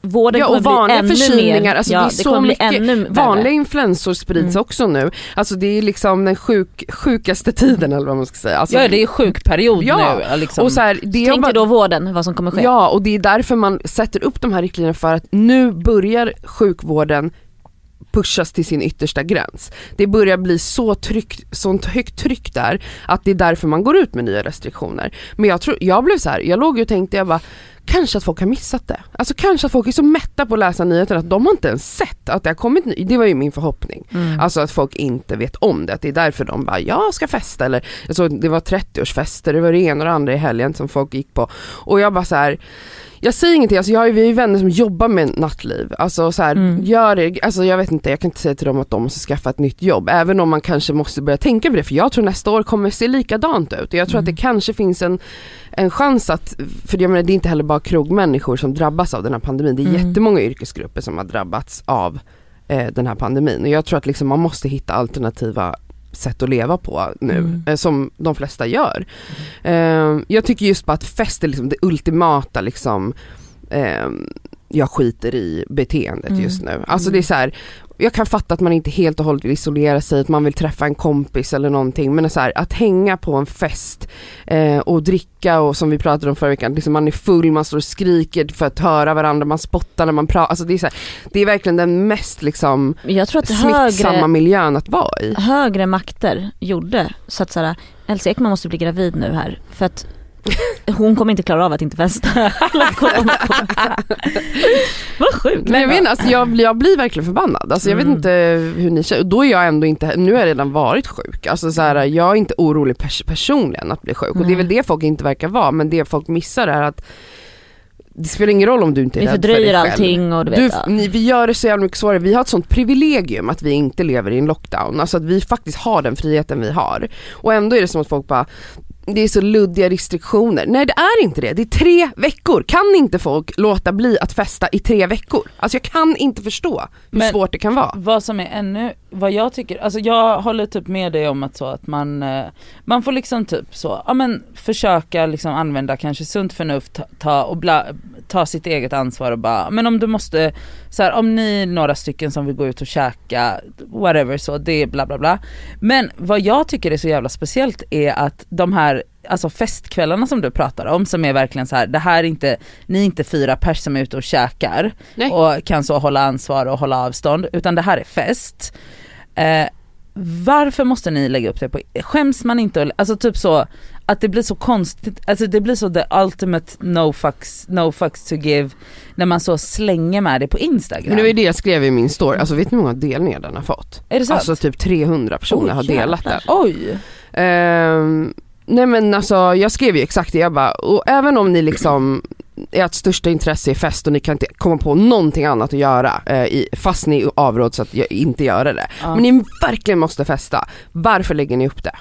Speaker 3: Vården
Speaker 4: Ja, och
Speaker 3: kommer bli
Speaker 4: vanliga
Speaker 3: ännu mer,
Speaker 4: förkylningar, alltså det är så
Speaker 3: kommer bli
Speaker 4: mycket
Speaker 3: ännu värre. Mm.
Speaker 4: Vanliga influensor sprids också nu. Alltså det är liksom den sjuk, sjukaste tiden eller vad man ska säga. Alltså,
Speaker 2: Ja det är ju sjukperiod
Speaker 4: Ja,
Speaker 2: nu. Liksom.
Speaker 4: och så här, det är
Speaker 3: Tänk
Speaker 4: bara-
Speaker 3: dig då vården, vad som kommer ske.
Speaker 4: Ja, och det är därför man sätter upp de här riktlinjerna för att nu börjar sjukvården pushas till sin yttersta gräns. Det börjar bli så tryck, sånt högt tryck där att det är därför man går ut med nya restriktioner. Men jag, tror, jag blev så här, jag låg ju och tänkte jag bara Kanske att folk har missat det. Alltså kanske att folk är så mätta på att läsa nyheterna att de har inte ens sett att det har kommit ny- Det var ju min förhoppning.
Speaker 3: Mm.
Speaker 4: Alltså att folk inte vet om det, att det är därför de bara, jag ska festa eller jag såg, det var 30-årsfester, det var det ena och det andra i helgen som folk gick på. Och jag bara så här. jag säger ingenting, alltså jag har ju, vi har ju vänner som jobbar med nattliv, alltså så här, gör det, alltså jag vet inte, jag kan inte säga till dem att de måste skaffa ett nytt jobb, även om man kanske måste börja tänka på det, för jag tror nästa år kommer se likadant ut. Och Jag tror att det kanske finns en, en chans att, för jag menar det är inte heller bara krogmänniskor som drabbas av den här pandemin, det är jättemånga yrkesgrupper som har drabbats av eh, den här pandemin. Och jag tror att liksom man måste hitta alternativa sätt att leva på nu, eh, som de flesta gör. Eh, jag tycker just bara att fest är liksom det ultimata liksom, eh, jag skiter i beteendet
Speaker 3: Mm.
Speaker 4: just nu. Alltså det är så här, jag kan fatta att man inte helt och hållet vill isolera sig, att man vill träffa en kompis eller någonting men så här, att hänga på en fest eh, och dricka och som vi pratade om förra veckan, liksom man är full, man står och skriker för att höra varandra, man spottar när man pratar. Alltså det, är så här, det är verkligen den mest liksom,
Speaker 3: Jag tror att
Speaker 4: smittsamma
Speaker 3: högre,
Speaker 4: miljön att vara i.
Speaker 3: högre makter gjorde så att såhär, Elsa Ekman måste bli gravid nu här för att hon kommer inte klara av att inte festa. Alla corona- Vad sjukt. Mm.
Speaker 4: Men jag, vet, inte, alltså jag, blir- jag blir verkligen förbannad. Alltså jag vet inte hur ni känner. Och Då är jag ändå inte, nu har jag redan varit sjuk. Alltså så här, jag är inte orolig pers- personligen att bli sjuk. Och det är väl det folk inte verkar vara. Men det folk missar är att det spelar ingen roll om du inte är
Speaker 3: Vi
Speaker 4: rädd för
Speaker 3: fördröjer
Speaker 4: dig själv.
Speaker 3: allting och du vet.
Speaker 4: Du,
Speaker 3: ja.
Speaker 4: ni, vi gör det så jävla mycket svårare, vi har ett sånt privilegium att vi inte lever i en lockdown, alltså att vi faktiskt har den friheten vi har. Och ändå är det som att folk bara, det är så luddiga restriktioner. Nej det är inte det, det är tre veckor. Kan inte folk låta bli att festa i tre veckor? Alltså jag kan inte förstå hur
Speaker 2: Men-
Speaker 4: svårt det kan vara.
Speaker 2: Vad som är ännu, vad jag tycker, alltså jag håller typ med dig om att så att man, eh, man får liksom typ så, ja men försöka liksom använda kanske sunt förnuft, ta, ta och bla, ta sitt eget ansvar och bara, men om du måste, så här, om ni är några stycken som vill gå ut och käka, whatever så, det är bla bla bla. Men vad jag tycker är så jävla speciellt är att de här Alltså festkvällarna som du pratar om som är verkligen så här, det här är inte, ni är inte fyra pers som är ute och käkar
Speaker 4: Nej.
Speaker 2: och kan så hålla ansvar och hålla avstånd utan det här är fest. Eh, varför måste ni lägga upp det på, skäms man inte? att- Alltså typ så, ja att det blir så konstigt, alltså det blir så the ultimate no fucks, no fucks to give när man så slänger med det på Instagram.
Speaker 4: Men det var ju det jag skrev i min story, alltså vet ni hur många delningar den har fått?
Speaker 2: är det sant?
Speaker 4: Alltså typ 300 personer
Speaker 3: Oj,
Speaker 4: har delat den.
Speaker 2: Oj!
Speaker 4: Ehm, nej men alltså jag skrev ju exakt det, jag bara, och även om ni liksom ert största intresse är fest och ni kan inte komma på någonting annat att göra eh, i, fast ni avråds att gö- inte göra det.
Speaker 2: Ja.
Speaker 4: Men ni verkligen måste festa. Varför lägger ni upp det?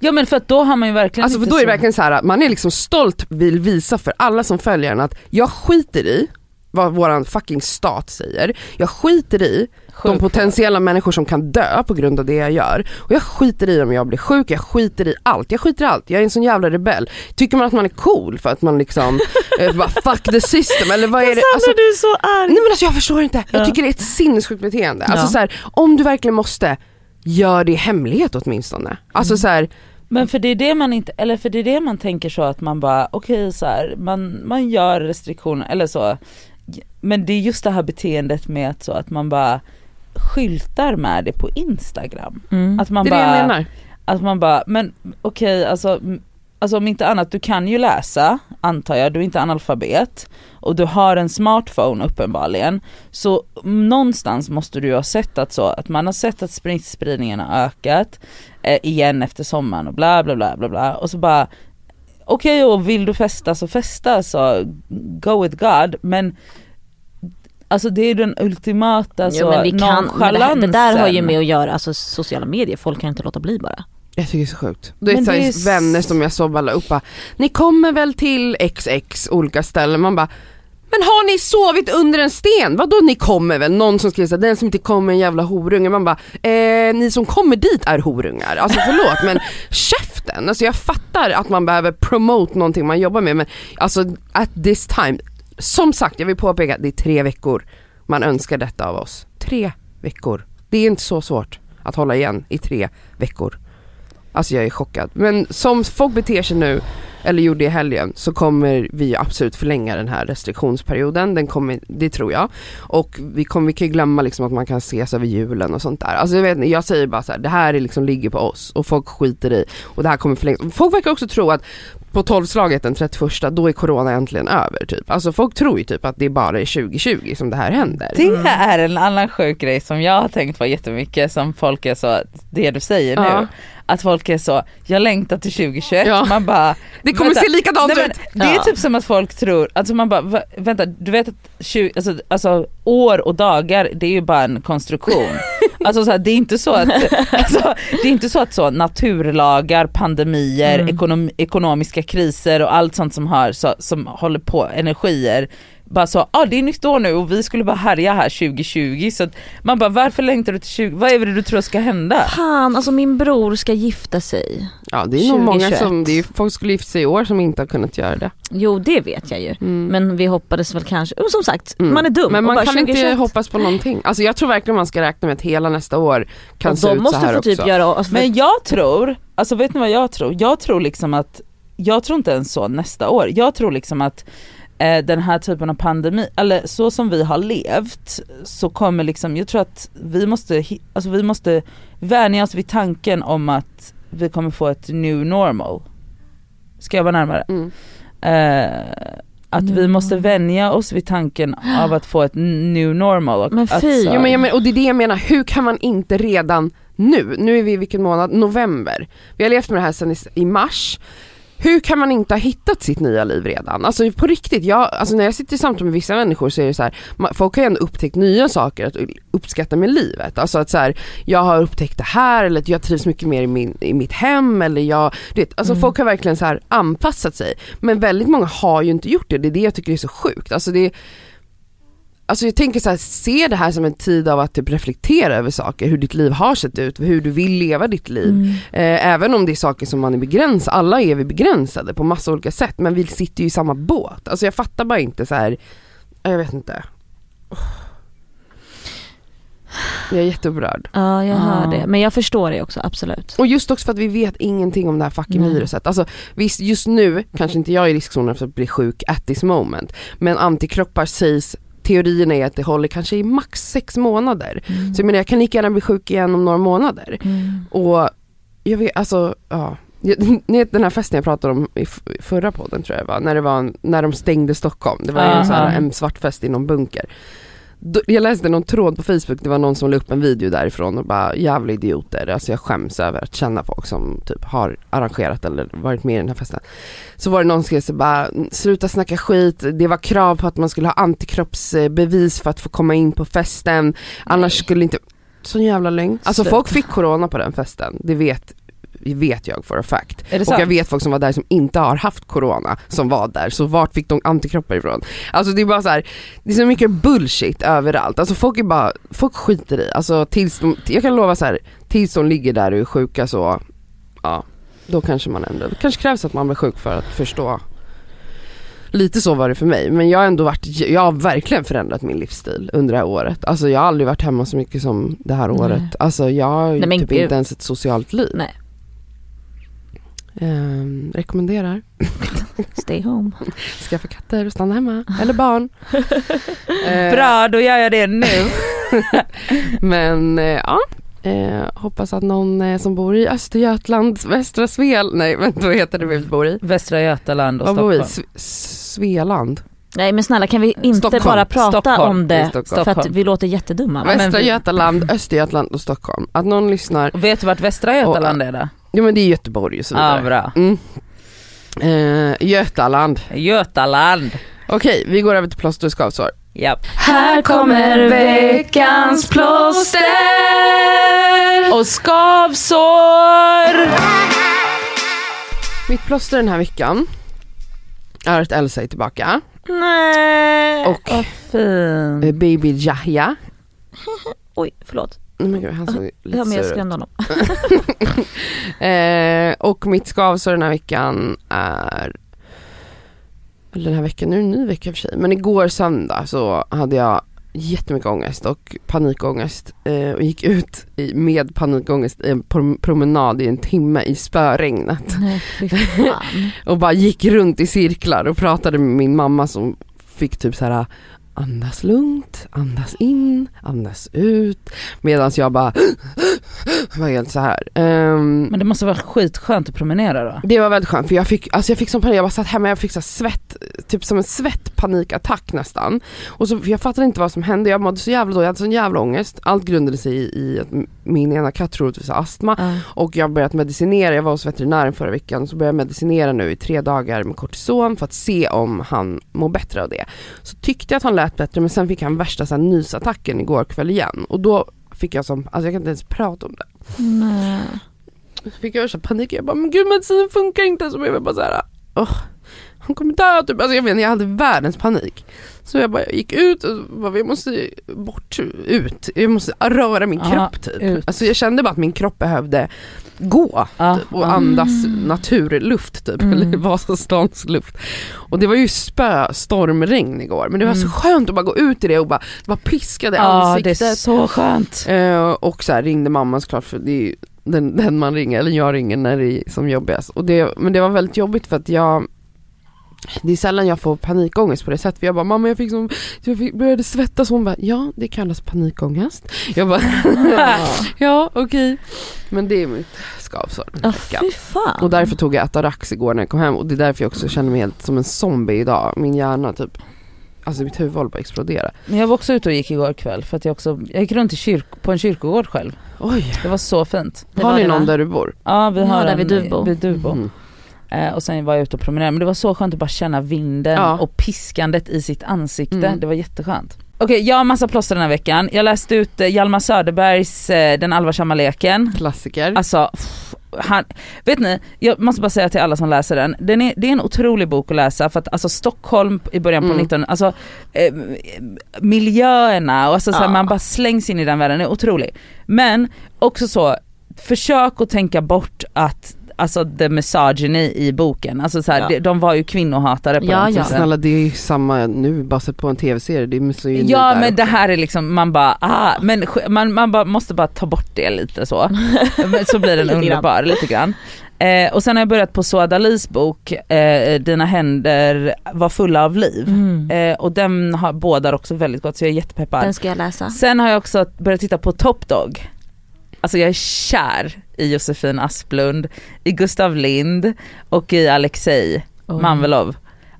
Speaker 2: Ja men för att då har man ju verkligen
Speaker 4: Alltså för
Speaker 2: inte
Speaker 4: då är det
Speaker 2: så-
Speaker 4: verkligen så här att man är liksom stolt vill visa för alla som följer en att jag skiter i vad våran fucking stat säger. Jag skiter i de
Speaker 2: Sjukt.
Speaker 4: potentiella människor som kan dö på grund av det jag gör. Och jag skiter i om jag blir sjuk, jag skiter i allt. Jag skiter i allt, jag är en sån jävla rebell. Tycker man att man är cool för att man liksom, eh, bara fuck the system eller vad är det? Alltså,
Speaker 6: du är så arg!
Speaker 4: nej men alltså jag förstår inte, jag tycker det är ett sinnessjukt beteende. Alltså
Speaker 6: Ja.
Speaker 4: så här, om du verkligen måste, gör det i hemlighet åtminstone. Alltså så här,
Speaker 2: Men för det är det man inte, eller för det är det man tänker så att man bara okej så här, man, man gör restriktioner eller så. Men det är just det här beteendet med att så att man bara skyltar med det på Instagram.
Speaker 3: Mm.
Speaker 2: Att man
Speaker 4: det är
Speaker 2: bara,
Speaker 4: det jag menar.
Speaker 2: Att man bara, men okej alltså, m- alltså om inte annat, du kan ju läsa antar jag, du är inte analfabet och du har en smartphone uppenbarligen. Så någonstans måste du ju ha sett att så, att man har sett att smittspridningen har ökat eh, igen efter sommaren och bla bla bla bla bla och så bara okej och vill du festa så festa så go with God men Alltså det är den ultimata så
Speaker 4: Alltså,
Speaker 3: Jo, men vi kan, men det, här, det där har ju
Speaker 2: nonchalansen.
Speaker 3: med att göra, alltså sociala medier, folk kan inte låta bli bara.
Speaker 4: Jag tycker det är så sjukt. Det är,
Speaker 2: Men
Speaker 4: så
Speaker 2: det är
Speaker 4: här,
Speaker 2: s-
Speaker 4: vänner som jag såg alla upp bara, ni kommer väl till XX olika ställen, man bara men har ni sovit under en sten? Vadå ni kommer väl? Någon som skriver såhär, den som inte kommer är en jävla horunge. Man bara, eh, ni som kommer dit är horungar. Alltså förlåt men käften! Alltså jag fattar att man behöver promote någonting man jobbar med men alltså at this time, som sagt jag vill påpeka att det är tre veckor man önskar detta av oss. Tre veckor. Det är inte så svårt att hålla igen i tre veckor. Alltså jag är chockad. Men som folk beter sig nu, eller gjorde i helgen, så kommer vi absolut förlänga den här restriktionsperioden. Den kommer, det tror jag. Och vi, kommer, vi kan ju glömma liksom att man kan ses över julen och sånt där. Alltså jag, vet, inte, jag säger bara så här, det här är liksom ligger på oss och folk skiter i och det här kommer förlängas. Folk verkar också tro att på tolvslaget den 31, då är corona äntligen över typ. Alltså folk tror ju typ att det bara är 2020 som det här händer.
Speaker 2: Det här är en annan sjuk grej som jag har tänkt på jättemycket som folk är så, det du säger
Speaker 4: Ja.
Speaker 2: nu, att folk är så, jag längtar till 2021,
Speaker 4: Ja.
Speaker 2: man bara
Speaker 4: Det kommer
Speaker 2: vänta.
Speaker 4: se likadant
Speaker 2: Nej,
Speaker 4: ut!
Speaker 2: men, det är
Speaker 3: Ja.
Speaker 2: typ som att folk tror, alltså man bara "Va- vänta du vet att 20, alltså, alltså, år och dagar det är ju bara en konstruktion. Alltså så här, det är inte så att, alltså, det är inte så att så, naturlagar, pandemier,
Speaker 4: Mm.
Speaker 2: ekonom, ekonomiska kriser och allt sånt som, har, så, som håller på, energier bara så, ah, det är nytt år nu och vi skulle bara härja här 2020 så att man bara varför längtar du till 20, vad är det du tror ska hända?
Speaker 3: Fan, alltså min bror ska gifta sig.
Speaker 4: Ja det är nog många
Speaker 3: 2021.
Speaker 4: som, det är, ju- folk skulle gifta sig i år som inte har kunnat göra det.
Speaker 3: Jo det vet jag ju.
Speaker 4: Mm.
Speaker 3: Men vi hoppades väl kanske, men som sagt,
Speaker 4: Mm.
Speaker 3: man är dum.
Speaker 4: Men
Speaker 3: och
Speaker 4: man
Speaker 3: bara,
Speaker 4: kan
Speaker 3: 2021.
Speaker 4: inte hoppas på någonting. Alltså jag tror verkligen man ska räkna med att hela nästa år kan
Speaker 3: Och
Speaker 4: se
Speaker 3: de
Speaker 4: ut så
Speaker 3: måste
Speaker 4: här
Speaker 3: få
Speaker 4: också.
Speaker 3: typ göra, alltså,
Speaker 2: Men jag tror, alltså vet ni vad jag tror? Jag tror liksom att, jag tror inte ens så nästa år. Jag tror liksom att eh, den här typen av pandemi, eller så som vi har levt så kommer liksom, jag tror att vi måste, hi- alltså vi måste vänja oss vid tanken om att vi kommer få ett new normal. Ska jag vara närmare?
Speaker 4: Mm.
Speaker 2: Eh, att
Speaker 3: New
Speaker 2: vi måste vänja oss vid tanken av att få ett new normal. Och
Speaker 3: Men
Speaker 2: att
Speaker 3: fy.
Speaker 2: så-
Speaker 4: Jo, men jag men, och det är det jag menar, hur kan man inte redan nu, nu är vi i vilken månad? November. Vi har levt med det här sedan i, i mars. Hur kan man inte ha hittat sitt nya liv redan? Alltså på riktigt, jag, alltså, när jag sitter i samtal med vissa människor så är det så här, man, folk har ju ändå upptäckt nya saker att uppskatta med livet. Alltså att så här, jag har upptäckt det här eller att jag trivs mycket mer i, min, i mitt hem eller jag, du vet, alltså folk har verkligen så här anpassat sig. Men väldigt många har ju inte gjort det, det är det jag tycker är så sjukt. Alltså det, Alltså jag tänker så här, se det här som en tid av att typ reflektera över saker, hur ditt liv har sett ut, hur du vill leva ditt liv. Eh, även om det är saker som man är begränsad, alla är vi begränsade på massa olika sätt men vi sitter ju i samma båt. Alltså jag fattar bara inte så här. jag vet inte. Åh. Jag är jätteupprörd.
Speaker 3: Ja jag hör
Speaker 2: Ah.
Speaker 3: det, men jag förstår det också absolut.
Speaker 4: Och just också för att vi vet ingenting om det här fucking
Speaker 3: Nej.
Speaker 4: viruset. Alltså visst, just nu kanske inte jag är i riskzonen för att bli sjuk at this moment. Men antikroppar sägs, teorierna är att det håller kanske i max sex månader.
Speaker 3: Mm.
Speaker 4: Så jag menar jag kan lika gärna bli sjuk igen om några månader. Och jag vet, alltså ja. Jag- Ni vet den här festen jag pratade om i f- i förra podden tror jag det var, när, det var en, när de stängde Stockholm. Det var ju en, så här,
Speaker 2: Aha.
Speaker 4: en svart fest i någon bunker. Då, jag läste någon tråd på Facebook, det var någon som la upp en video därifrån och bara jävla idioter, alltså jag skäms över att känna folk som typ har arrangerat eller varit med i den här festen. Så var det någon som skrev så bara, sluta snacka skit, det var krav på att man skulle ha antikroppsbevis för att få komma in på festen, annars skulle inte, sån jävla lögn. Alltså
Speaker 2: Sluta.
Speaker 4: folk fick corona på den festen, det vet, vet jag for a fact.
Speaker 2: Är det
Speaker 4: Och
Speaker 2: sant?
Speaker 4: jag vet folk som var där som inte har haft corona som var där, så vart fick de antikroppar ifrån? Alltså det är bara så här, det är så mycket bullshit överallt. Alltså folk är bara, folk skiter i, alltså tills de, jag kan lova så här, tills de ligger där och är sjuka så, ja, då kanske man ändå, det kanske krävs att man blir sjuk för att förstå. Lite så var det för mig, men jag har ändå varit, jag har verkligen förändrat min livsstil under det här året. Alltså jag har aldrig varit hemma så mycket som det här
Speaker 3: Nej.
Speaker 4: året. Alltså jag har ju
Speaker 3: Nej, men
Speaker 4: typ
Speaker 3: gud.
Speaker 4: inte ens ett socialt liv.
Speaker 3: Nej.
Speaker 4: Ehm, rekommenderar
Speaker 3: Stay home.
Speaker 4: skaffa katter och stanna hemma, eller barn. Eh,
Speaker 2: Bra, då gör jag det nu.
Speaker 4: Men eh, ja, eh, hoppas att någon eh, som bor i Östergötland, Västra Svel, nej vänta vad heter det vi bor i?
Speaker 2: Västra Götaland och
Speaker 4: Vad bor vi?
Speaker 2: Stockholm.
Speaker 4: Sve- Svealand?
Speaker 3: Nej men snälla kan vi inte
Speaker 4: Stockholm.
Speaker 3: bara prata
Speaker 2: Stockholm.
Speaker 3: om
Speaker 4: Det är
Speaker 3: det
Speaker 4: Stockholm.
Speaker 3: för att vi låter jättedumma. Va?
Speaker 2: men
Speaker 4: Västra
Speaker 2: vi-
Speaker 4: Götaland, Östergötland och Stockholm. Att någon lyssnar,
Speaker 2: Vet du vart Västra Götaland är då?
Speaker 4: jo men det är Göteborg och så
Speaker 2: Ja,
Speaker 4: vidare.
Speaker 2: bra.
Speaker 4: Mm. Eh, Götaland.
Speaker 2: Götaland.
Speaker 4: Okej, vi går över till plåster och skavsår.
Speaker 2: Ja.
Speaker 3: Här kommer veckans plåster.
Speaker 2: Och skavsår!
Speaker 4: Mitt plåster den här veckan är att Elsa är tillbaka
Speaker 3: Nej.
Speaker 4: och
Speaker 2: Fint.
Speaker 4: eh, baby Yahya
Speaker 3: Oj, förlåt.
Speaker 4: Nej men gud, han såg
Speaker 3: Ja,
Speaker 4: lite
Speaker 3: men
Speaker 4: sur
Speaker 3: jag
Speaker 4: ut.
Speaker 3: skrämde honom.
Speaker 4: Eh, och mitt skavsår den här veckan är, eller den här veckan, nu är det en ny vecka i och för sig, men igår söndag så hade jag jättemycket ångest och panikångest eh, och gick ut i, med panikångest i en prom- promenad i en timme i spöregnet
Speaker 3: Nej, fy fan.
Speaker 4: och bara gick runt i cirklar och pratade med min mamma som fick typ så här andas lugnt, andas in, andas ut medan jag bara var helt så här. Ehm,
Speaker 2: Men det måste vara skitskönt att promenera då.
Speaker 4: det var väldigt skönt för jag fick, alltså jag fick som panik, jag bara satt hemma, jag fick så här svett, typ som en svettpanikattack nästan. Och så, för jag fattade inte vad som hände, jag mådde så jävla dåligt, jag hade sån jävla ångest. Allt grundade sig i, i att m- min ena katt troligtvis har astma
Speaker 3: Ja.
Speaker 4: och jag har börjat medicinera, jag var hos veterinären förra veckan, så började jag medicinera nu i tre dagar med kortison för att se om han mår bättre av det. Så tyckte jag att han lät bättre men sen fick han värsta så här, nysattacken igår kväll igen och då fick jag som, alltså jag kan inte ens prata om det.
Speaker 3: Nej.
Speaker 4: Så fick jag så här panik, jag bara men gud medicinen funkar inte. Så blev jag bara såhär, åh, han kommer dö typ. Alltså jag vet inte, jag hade världens panik. Så jag bara jag gick ut och bara, jag måste bort, ut, jag måste röra min
Speaker 2: Ja,
Speaker 4: kropp typ.
Speaker 2: ut.
Speaker 4: Alltså jag kände bara att min kropp behövde gå
Speaker 2: Ja,
Speaker 4: typ, och andas naturluft typ,
Speaker 2: Mm.
Speaker 4: eller Vasastans luft. Och det var ju spöstormregn igår men det var så skönt att bara gå ut i det och bara, bara piska det i
Speaker 2: Mm. ja det
Speaker 4: ansiktet.
Speaker 2: är så skönt.
Speaker 4: Eh, och så här ringde mamma såklart för det är ju den, den man ringer, eller jag ringer när det är som jobbigast. Och det, men det var väldigt jobbigt för att jag det är sällan jag får panikångest på det sättet för jag bara mamma jag fick som, jag fick, började svettas hon bara ja det kallas panikångest. Jag bara ja okej. Men det är mitt skavsår.
Speaker 3: Ja, fy fan.
Speaker 4: Och därför tog jag Atarax igår när jag kom hem och det är därför jag också känner mig helt som en zombie idag. Min hjärna typ, alltså mitt huvud håller på att explodera.
Speaker 2: Men jag var också ute och gick igår kväll för att jag också, jag gick runt i kyrk, på en kyrkogård själv.
Speaker 4: Oj,
Speaker 2: Det var så fint.
Speaker 3: Det
Speaker 4: har
Speaker 3: var
Speaker 4: ni
Speaker 3: det,
Speaker 4: någon
Speaker 3: va?
Speaker 4: där du bor?
Speaker 2: Ja vi
Speaker 3: Ja,
Speaker 2: har
Speaker 3: där
Speaker 2: en
Speaker 3: vid Duvbo.
Speaker 2: Vid Duvbo.
Speaker 4: Mhm.
Speaker 2: Eh, och sen var jag ute och promenerade men det var så skönt att bara känna vinden
Speaker 4: Ja.
Speaker 2: och piskandet i sitt ansikte.
Speaker 4: Mm.
Speaker 2: Det var jätteskönt. Okej jag har massa plåster den här veckan. Jag läste ut eh, Hjalmar Söderbergs eh, Den allvarsamma leken.
Speaker 4: Klassiker.
Speaker 2: Alltså, pff, han, vet ni, jag måste bara säga till alla som läser den, den är, det är en otrolig bok att läsa för att alltså Stockholm i början på
Speaker 4: Mm.
Speaker 2: 19, alltså eh, miljöerna och alltså, så här,
Speaker 3: Ja.
Speaker 2: man bara slängs in i den världen, den är otrolig. Men också så, försök att tänka bort att Alltså the misogyny i boken, alltså så här,
Speaker 3: Ja.
Speaker 2: de, de var ju kvinnohatare på
Speaker 3: Ja,
Speaker 2: den
Speaker 3: ja.
Speaker 2: tiden.
Speaker 4: Snälla det är ju samma nu baserat på en tv-serie, det måste ju in
Speaker 2: Ja
Speaker 4: där
Speaker 2: men det
Speaker 4: också.
Speaker 2: här är liksom, man bara, ah, men sk- man, man bara, måste bara ta bort det lite så. Men så blir den
Speaker 3: Lite grann.
Speaker 2: underbar lite grann. Eh, och sen har jag börjat på Suad Alis bok, eh, Dina händer var fulla av liv.
Speaker 3: Mm.
Speaker 2: Eh, och den har, bådar också väldigt gott så jag är jättepeppad.
Speaker 3: Den ska jag läsa.
Speaker 2: Sen har jag också börjat titta på Top Dog. Alltså jag är kär i Josefin Asplund, i Gustav Lind och i Alexej Manvelov.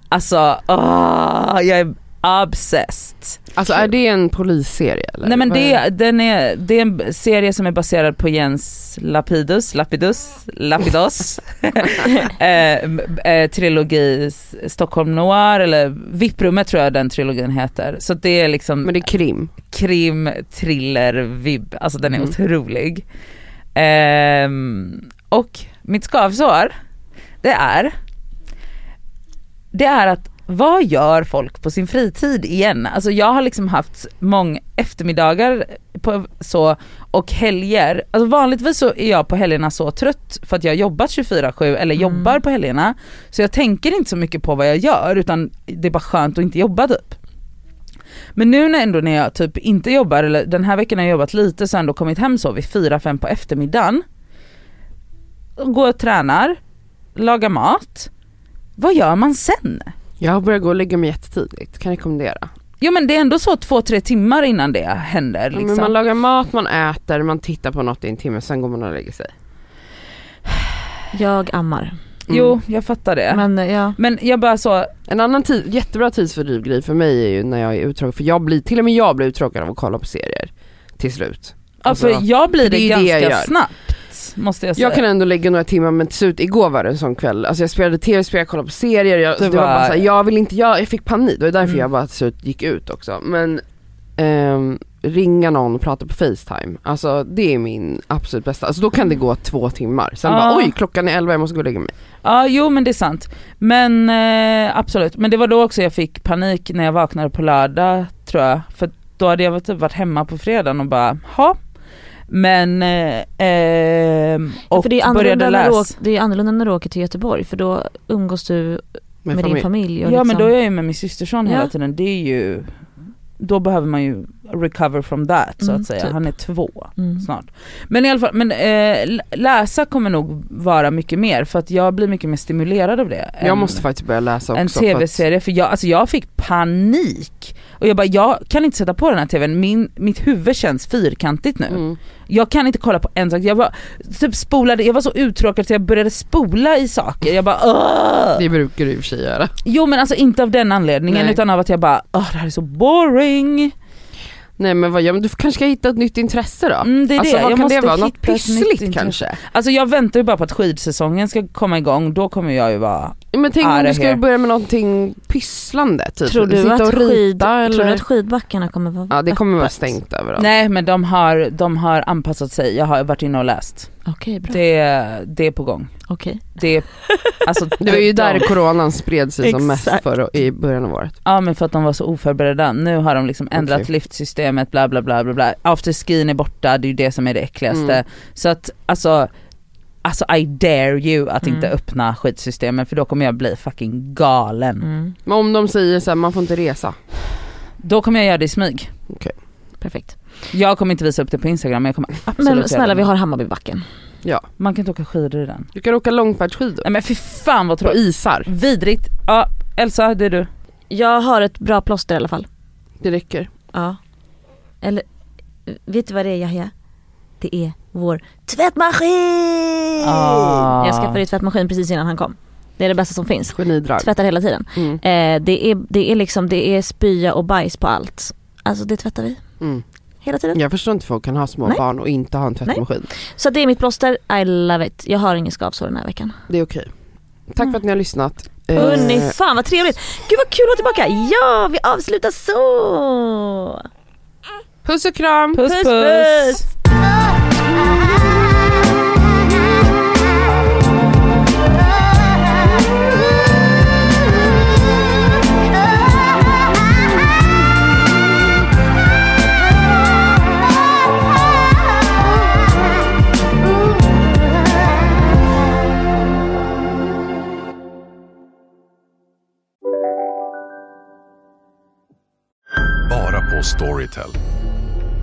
Speaker 2: Alltså, åh, jag är obsessed.
Speaker 4: Alltså är det en polisserie eller?
Speaker 2: Nej men
Speaker 4: Vad är
Speaker 2: det, den är, det är en serie som är baserad på Jens Lapidus, Lapidus, Lapidos eh, eh, trilogi S- Stockholm Noir eller Vipprummet tror jag den trilogin heter. Så det är liksom
Speaker 4: Men det är krim.
Speaker 2: krim, thriller, vibb, alltså den är
Speaker 4: Mm.
Speaker 2: otrolig. Ehm, och mitt skavsår, det är, det är att vad gör folk på sin fritid igen? Alltså jag har liksom haft många eftermiddagar på så och helger. Alltså vanligtvis så är jag på helgerna så trött för att jag har jobbat 24-7 eller jobbar på helgerna. Så jag tänker inte så mycket på vad jag gör utan det är bara skönt att inte jobba typ. Men nu när, ändå när jag typ inte jobbar, eller den här veckan har jag jobbat lite så har jag ändå kommit hem så vid 4-5 på eftermiddagen. Går och tränar, lagar mat. Vad gör man sen?
Speaker 4: Jag börjar gå och lägga mig jättetidigt, kan rekommendera.
Speaker 2: Jo men det är ändå så 2-3 timmar innan det händer.
Speaker 4: Ja, men
Speaker 2: Liksom.
Speaker 4: man lagar mat, man äter, man tittar på något i en timme, sen går man och lägger sig.
Speaker 3: Jag ammar.
Speaker 4: mm.
Speaker 2: Jo jag fattar det. Men,
Speaker 3: Men eh, ja.
Speaker 2: jag bara så, alltså,
Speaker 4: En annan tid, jättebra tidsfördriv grej för mig är ju när jag är uttråkad, för jag blir, till och med jag blir uttråkad av att kolla på serier till slut.
Speaker 2: ja, för
Speaker 4: Alltså,
Speaker 2: jag blir
Speaker 4: det
Speaker 2: det,
Speaker 4: är det jag
Speaker 2: ganska
Speaker 4: gör.
Speaker 2: snabbt måste jag säga.
Speaker 4: Jag kan ändå lägga några timmar men till slut, igår var det en sån kväll, alltså jag spelade tv-spel, jag kollade på serier, jag,
Speaker 2: Du
Speaker 4: det var
Speaker 2: bara-
Speaker 4: bara så här, jag vill inte, jag, jag fick panik, det var därför
Speaker 2: Mm.
Speaker 4: jag bara till slut gick ut också. Men ehm, ringa någon och prata på Facetime, alltså det är min absolut bästa, alltså då kan det gå två timmar, sen
Speaker 2: Mm. Ja.
Speaker 4: bara oj klockan är elva, jag måste gå och lägga mig.
Speaker 2: Ja jo men det är sant. Men eh, absolut, men det var då också jag fick panik när jag vaknade på lördag tror jag. För då hade jag typ varit hemma på fredagen och bara, ha. Men, eh, eh, och
Speaker 3: för det är annorlunda
Speaker 2: började
Speaker 3: när
Speaker 2: läsa.
Speaker 3: du, åker, det är annorlunda när du åker till Göteborg för då umgås du med,
Speaker 4: familj.
Speaker 3: din familj. Och
Speaker 2: Ja
Speaker 3: liksom,
Speaker 2: men då är jag ju med min systerson hela
Speaker 3: Ja.
Speaker 2: tiden, det är ju, då behöver man ju recover from that så
Speaker 3: Mm,
Speaker 2: att säga.
Speaker 3: typ.
Speaker 2: Han är två.
Speaker 3: mm.
Speaker 2: snart. Men i alla fall, men, eh, l- läsa kommer nog vara mycket mer för att jag blir mycket mer stimulerad av det.
Speaker 4: Jag
Speaker 2: än-
Speaker 4: måste faktiskt börja läsa också.
Speaker 2: en
Speaker 4: för att-
Speaker 2: tv-serie för jag, alltså jag fick panik. Och jag bara, jag kan inte sätta på den här tvn, Min, mitt huvud känns fyrkantigt nu.
Speaker 4: Mm.
Speaker 2: Jag kan inte kolla på en sak. Jag bara, typ spolade, jag var så uttråkad så jag började spola i saker. Jag bara Åh!
Speaker 4: Det brukar du i och för sig göra.
Speaker 2: Jo men alltså inte av den anledningen
Speaker 4: Nej.
Speaker 2: utan av att jag bara, Åh, det här är så boring.
Speaker 4: Nej men vad gör men Du kanske ska hitta ett nytt intresse då?
Speaker 2: Mm, det är
Speaker 4: alltså
Speaker 2: det.
Speaker 4: vad
Speaker 2: jag
Speaker 4: kan
Speaker 2: måste
Speaker 4: det vara? Något
Speaker 2: hitta ett nytt
Speaker 4: pyssligt
Speaker 2: intresse.
Speaker 4: kanske?
Speaker 2: Alltså jag väntar ju bara på att skidsäsongen ska komma igång, då kommer jag ju vara
Speaker 4: Men tänk
Speaker 2: Är
Speaker 4: om
Speaker 2: det
Speaker 4: du ska
Speaker 2: här?
Speaker 4: börja med någonting pysslande, typ
Speaker 3: tror, du
Speaker 4: sitta
Speaker 3: att
Speaker 4: och rita
Speaker 3: skid,
Speaker 4: eller?
Speaker 3: tror du att skidbackarna kommer vara
Speaker 4: Ja det kommer vara
Speaker 3: öppet?
Speaker 4: stängt överallt.
Speaker 2: Nej men de har, de har anpassat sig, jag har varit inne och läst.
Speaker 3: Okej, bra.
Speaker 2: Det, det är på gång.
Speaker 3: Okej.
Speaker 2: Det, alltså,
Speaker 4: Det var ju
Speaker 2: de-
Speaker 4: där coronan spred sig som mest
Speaker 7: Exakt.
Speaker 4: förra, i början av året.
Speaker 2: Ja men för att de var så oförberedda. Nu har de liksom ändrat
Speaker 4: Okej.
Speaker 2: lyftsystemet bla bla bla bla bla. Afterskin är borta, det är ju det som är det äckligaste.
Speaker 4: Mm.
Speaker 2: Så att alltså, alltså I dare you att
Speaker 3: Mm.
Speaker 2: inte öppna skitsystemen för då kommer jag bli fucking galen.
Speaker 3: Mm,
Speaker 4: Men om de säger så här, man får inte resa.
Speaker 2: Då kommer jag göra det i smyg.
Speaker 3: perfekt.
Speaker 2: Jag kommer inte visa upp det på instagram men jag kommer absolut
Speaker 3: Men snälla
Speaker 2: göra det.
Speaker 3: vi har Hammarbybacken.
Speaker 2: Man kan inte åka skidor i den.
Speaker 4: Du kan åka långfärdsskidor.
Speaker 2: Nej men fy fan vad
Speaker 4: På
Speaker 2: tråkigt.
Speaker 4: isar.
Speaker 2: Vidrigt. Ja Elsa det är du.
Speaker 3: Jag har ett bra plåster i alla fall.
Speaker 4: Det räcker.
Speaker 3: Ja. Eller, vet du vad det är Yahya? Det är vår tvättmaskin!
Speaker 2: Ah.
Speaker 3: Jag skaffade ju tvättmaskin precis innan han kom. Det är det bästa som finns.
Speaker 4: Genidrag.
Speaker 3: Tvättar hela tiden.
Speaker 4: Mm.
Speaker 3: Eh, det, är, det är liksom, det är spya och bajs på allt. Alltså det tvättar vi
Speaker 4: Mm.
Speaker 3: hela tiden.
Speaker 4: Jag förstår inte hur folk kan ha små
Speaker 3: Nej.
Speaker 4: barn och inte ha en tvättmaskin.
Speaker 3: Så det är mitt plåster, I love it. Jag har ingen skavsår den här veckan.
Speaker 4: Det är okej. Tack
Speaker 2: Mm.
Speaker 4: för att ni har lyssnat. Eh,
Speaker 3: Hörni, fan vad trevligt. Gud vad kul att vara tillbaka. Ja, vi avslutar så.
Speaker 4: Puss och kram!
Speaker 2: puss. puss.
Speaker 8: Bara på Storytel.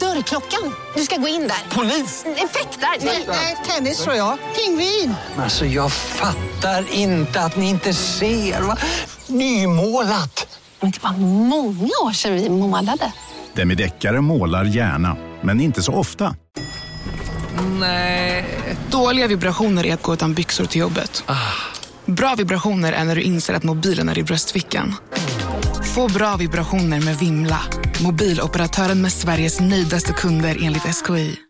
Speaker 9: Dörrklockan. Du ska gå in där. Polis? Effektar? Nej, tennis tror jag. Pingvin.
Speaker 10: Alltså jag fattar inte att ni inte ser. Va? Nymålat!
Speaker 9: Men det var många år sedan vi målade.
Speaker 11: demideckare målar gärna, men inte så ofta.
Speaker 12: Dåliga vibrationer är att gå utan byxor till jobbet. Bra vibrationer är när du inser att mobilen är i bröstfickan. Få bra vibrationer med Vimla. Mobiloperatören med Sveriges nöjdaste kunder enligt SKI.